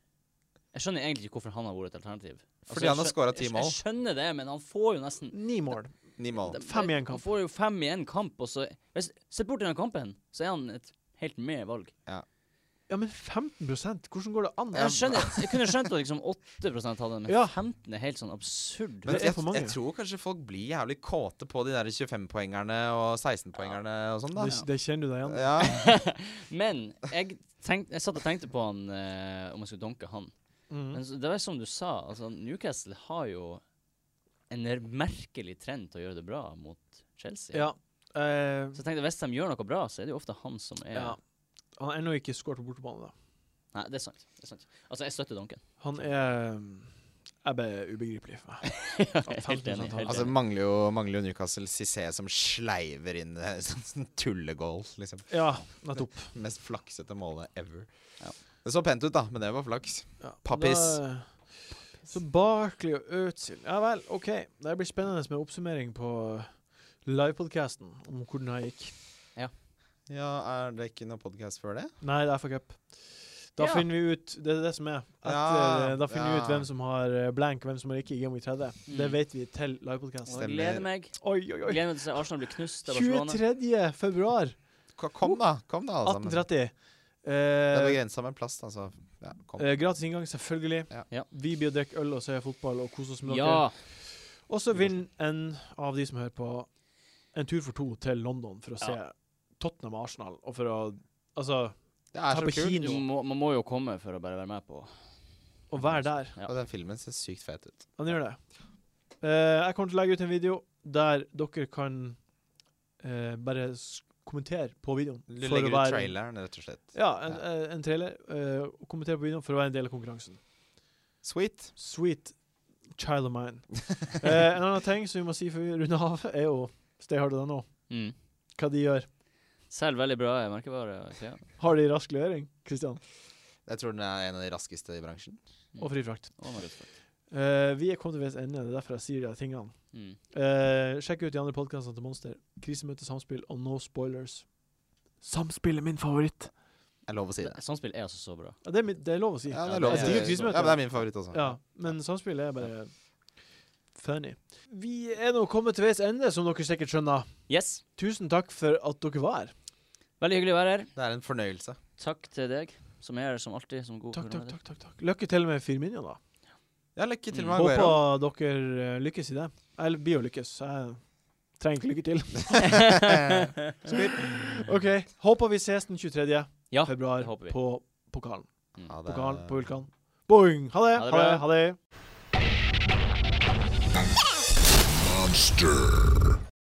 Speaker 2: Jeg skjønner egentlig ikke hvorfor han har vært et alternativ. Altså,
Speaker 4: Fordi han har
Speaker 2: jeg skjø-
Speaker 4: scoret ti
Speaker 2: jeg skj-
Speaker 4: mål.
Speaker 2: Jeg skjønner det, men han får jo nesten
Speaker 1: Ni mål.
Speaker 4: Ni mål.
Speaker 2: de-
Speaker 1: Fem i en
Speaker 2: Han
Speaker 1: kamp.
Speaker 2: får jo fem i en kamp, og så hvis, Sett bort i den kampen, så er han et helt med valg.
Speaker 1: Ja, men 15 Hvordan går det an?
Speaker 2: Jeg, skjønner, jeg kunne skjønt at liksom 8 hadde det, men
Speaker 1: Ja.
Speaker 2: 15 er helt sånn absurd.
Speaker 4: Men
Speaker 1: Det er
Speaker 4: jeg,
Speaker 1: for mange.
Speaker 4: jeg tror kanskje folk blir jævlig kåte på de der 25-poengerne og 16-poengerne og sånn, da.
Speaker 1: Det, det kjenner du deg igjen i.
Speaker 4: Ja.
Speaker 2: Men jeg, tenk, jeg satt og tenkte på han eh, om jeg skulle donke han.
Speaker 1: Mm.
Speaker 2: Men så, det var som du sa, altså Newcastle har jo en merkelig trend til å gjøre det bra mot Chelsea.
Speaker 1: Ja. eh,
Speaker 2: Så jeg tenkte, hvis de gjør noe bra, så er det jo ofte han som er
Speaker 1: ja. Han har ennå ikke skåret på bortebane, da.
Speaker 2: Nei, det er sant. det er sant. Altså, jeg støtter Duncan.
Speaker 1: Han er er bare ubegripelig for meg.
Speaker 2: Helt enig. Helt
Speaker 4: Altså,
Speaker 2: enig.
Speaker 4: mangler jo, mangler jo Newcastle Cissé som sleiver inn eh, sånn tullegål, liksom.
Speaker 1: Ja, nettopp.
Speaker 4: Mest flaksete målet ever.
Speaker 2: Ja.
Speaker 4: Det så pent ut, da, men det var flaks.
Speaker 1: Ja,
Speaker 4: Pappis.
Speaker 1: da- Så Barkley og Özil Ja vel, OK. Det blir spennende med oppsummering på livepodkasten om hvordan det gikk.
Speaker 4: Ja, Er det ikke noe podkast før det?
Speaker 1: Nei, det er FA Cup. Da
Speaker 2: Ja.
Speaker 1: finner vi ut Det er det som er. Etter,
Speaker 4: Ja,
Speaker 1: da finner vi ut
Speaker 4: ja.
Speaker 1: hvem som har eh, blank, hvem som har ikke i Game Week 30. Det
Speaker 2: Mm.
Speaker 1: vet vi til livepodkast.
Speaker 2: Og jeg
Speaker 4: Stemmer.
Speaker 2: gleder meg.
Speaker 1: Oi, eh, oi, oi.
Speaker 2: Gleder meg til å se Arsenal bli knust av Barcelona.
Speaker 1: 23. februar
Speaker 4: Ko- Kom, da. Kom da, alle sammen.
Speaker 1: 1830.
Speaker 4: Det er
Speaker 1: Eh,
Speaker 4: begrensa med plass, da, så ja, kom.
Speaker 1: eh, gratis inngang, selvfølgelig.
Speaker 4: Ja.
Speaker 2: Ja.
Speaker 1: Vi blir å drikke øl og se fotball og kose oss med dere.
Speaker 2: Ja.
Speaker 1: Og så vinn en av de som hører på, en tur for to til London for å se Tottenham og Arsenal. Og for å Altså,
Speaker 4: Det
Speaker 1: ta
Speaker 4: er
Speaker 1: på
Speaker 4: så kult.
Speaker 1: kino
Speaker 2: Du må, man må jo komme for å bare være med på.
Speaker 1: og være der.
Speaker 2: Ja.
Speaker 4: Og den filmen ser sykt fet ut.
Speaker 1: Han gjør det. Eh, jeg kommer til å legge ut en video der dere kan eh, bare s- kommentere på videoen.
Speaker 4: Du
Speaker 1: for å
Speaker 4: legger
Speaker 1: være-
Speaker 4: ut traileren, rett og slett.
Speaker 1: Ja, en, eh, en trailer. eh, og kommentere på videoen for å være en del av konkurransen.
Speaker 4: Sweet.
Speaker 1: Sweet child of mine. Eh, en annen ting som vi må si før vi runder av, er jo Stay Hard nå.
Speaker 2: Mm.
Speaker 1: Hva de gjør.
Speaker 2: Selv veldig bra merkevare. og klær.
Speaker 1: Har de rask levering, Kristian?
Speaker 4: Jeg tror den er en av de raskeste i bransjen.
Speaker 2: Mm.
Speaker 1: Og fri frakt.
Speaker 2: Og noe godt.
Speaker 1: Eh, vi er kommet til veis ende, det er derfor jeg sier de her tingene.
Speaker 2: Mm.
Speaker 1: Eh, sjekk ut de andre podkastene til Monster. Krisemøte, samspill og no spoilers. Samspill er min favoritt.
Speaker 4: Det er lov å si det.
Speaker 2: Det- Sånt spill er altså så bra.
Speaker 1: Ja, det, er, mi- det er lov å si.
Speaker 4: Ja, det er lov å si.
Speaker 1: Jeg digger
Speaker 4: Ja,
Speaker 1: krisemøter.
Speaker 4: men det er min favoritt også.
Speaker 1: Ja, men samspill er bare funny. Vi er nå kommet til veis ende, som dere sikkert skjønner.
Speaker 2: Yes.
Speaker 1: Tusen takk for at dere var her.
Speaker 2: Veldig hyggelig å være her.
Speaker 4: Det er en fornøyelse.
Speaker 2: Takk til deg, som er her som alltid, som god
Speaker 1: Takk, takk,
Speaker 2: programleder.
Speaker 1: takk, takk, takk. Lykke til med Firminion, da.
Speaker 4: Ja, lykke til
Speaker 2: Mm.
Speaker 4: med Aguero.
Speaker 1: Håper dere eh, lykkes i det. Jeg blir jo lykkes. Jeg trenger ikke lykke til. OK. Håper vi ses den 23.
Speaker 2: Ja, det
Speaker 1: februar
Speaker 2: håper vi.
Speaker 1: på pokalen.
Speaker 2: Mm.
Speaker 4: Ha det.
Speaker 1: Pokalen på Vulkan. Boing! Ha det!
Speaker 2: Ha det
Speaker 1: Ha
Speaker 2: bra.
Speaker 1: det! Ha det.
Speaker 3: Monster.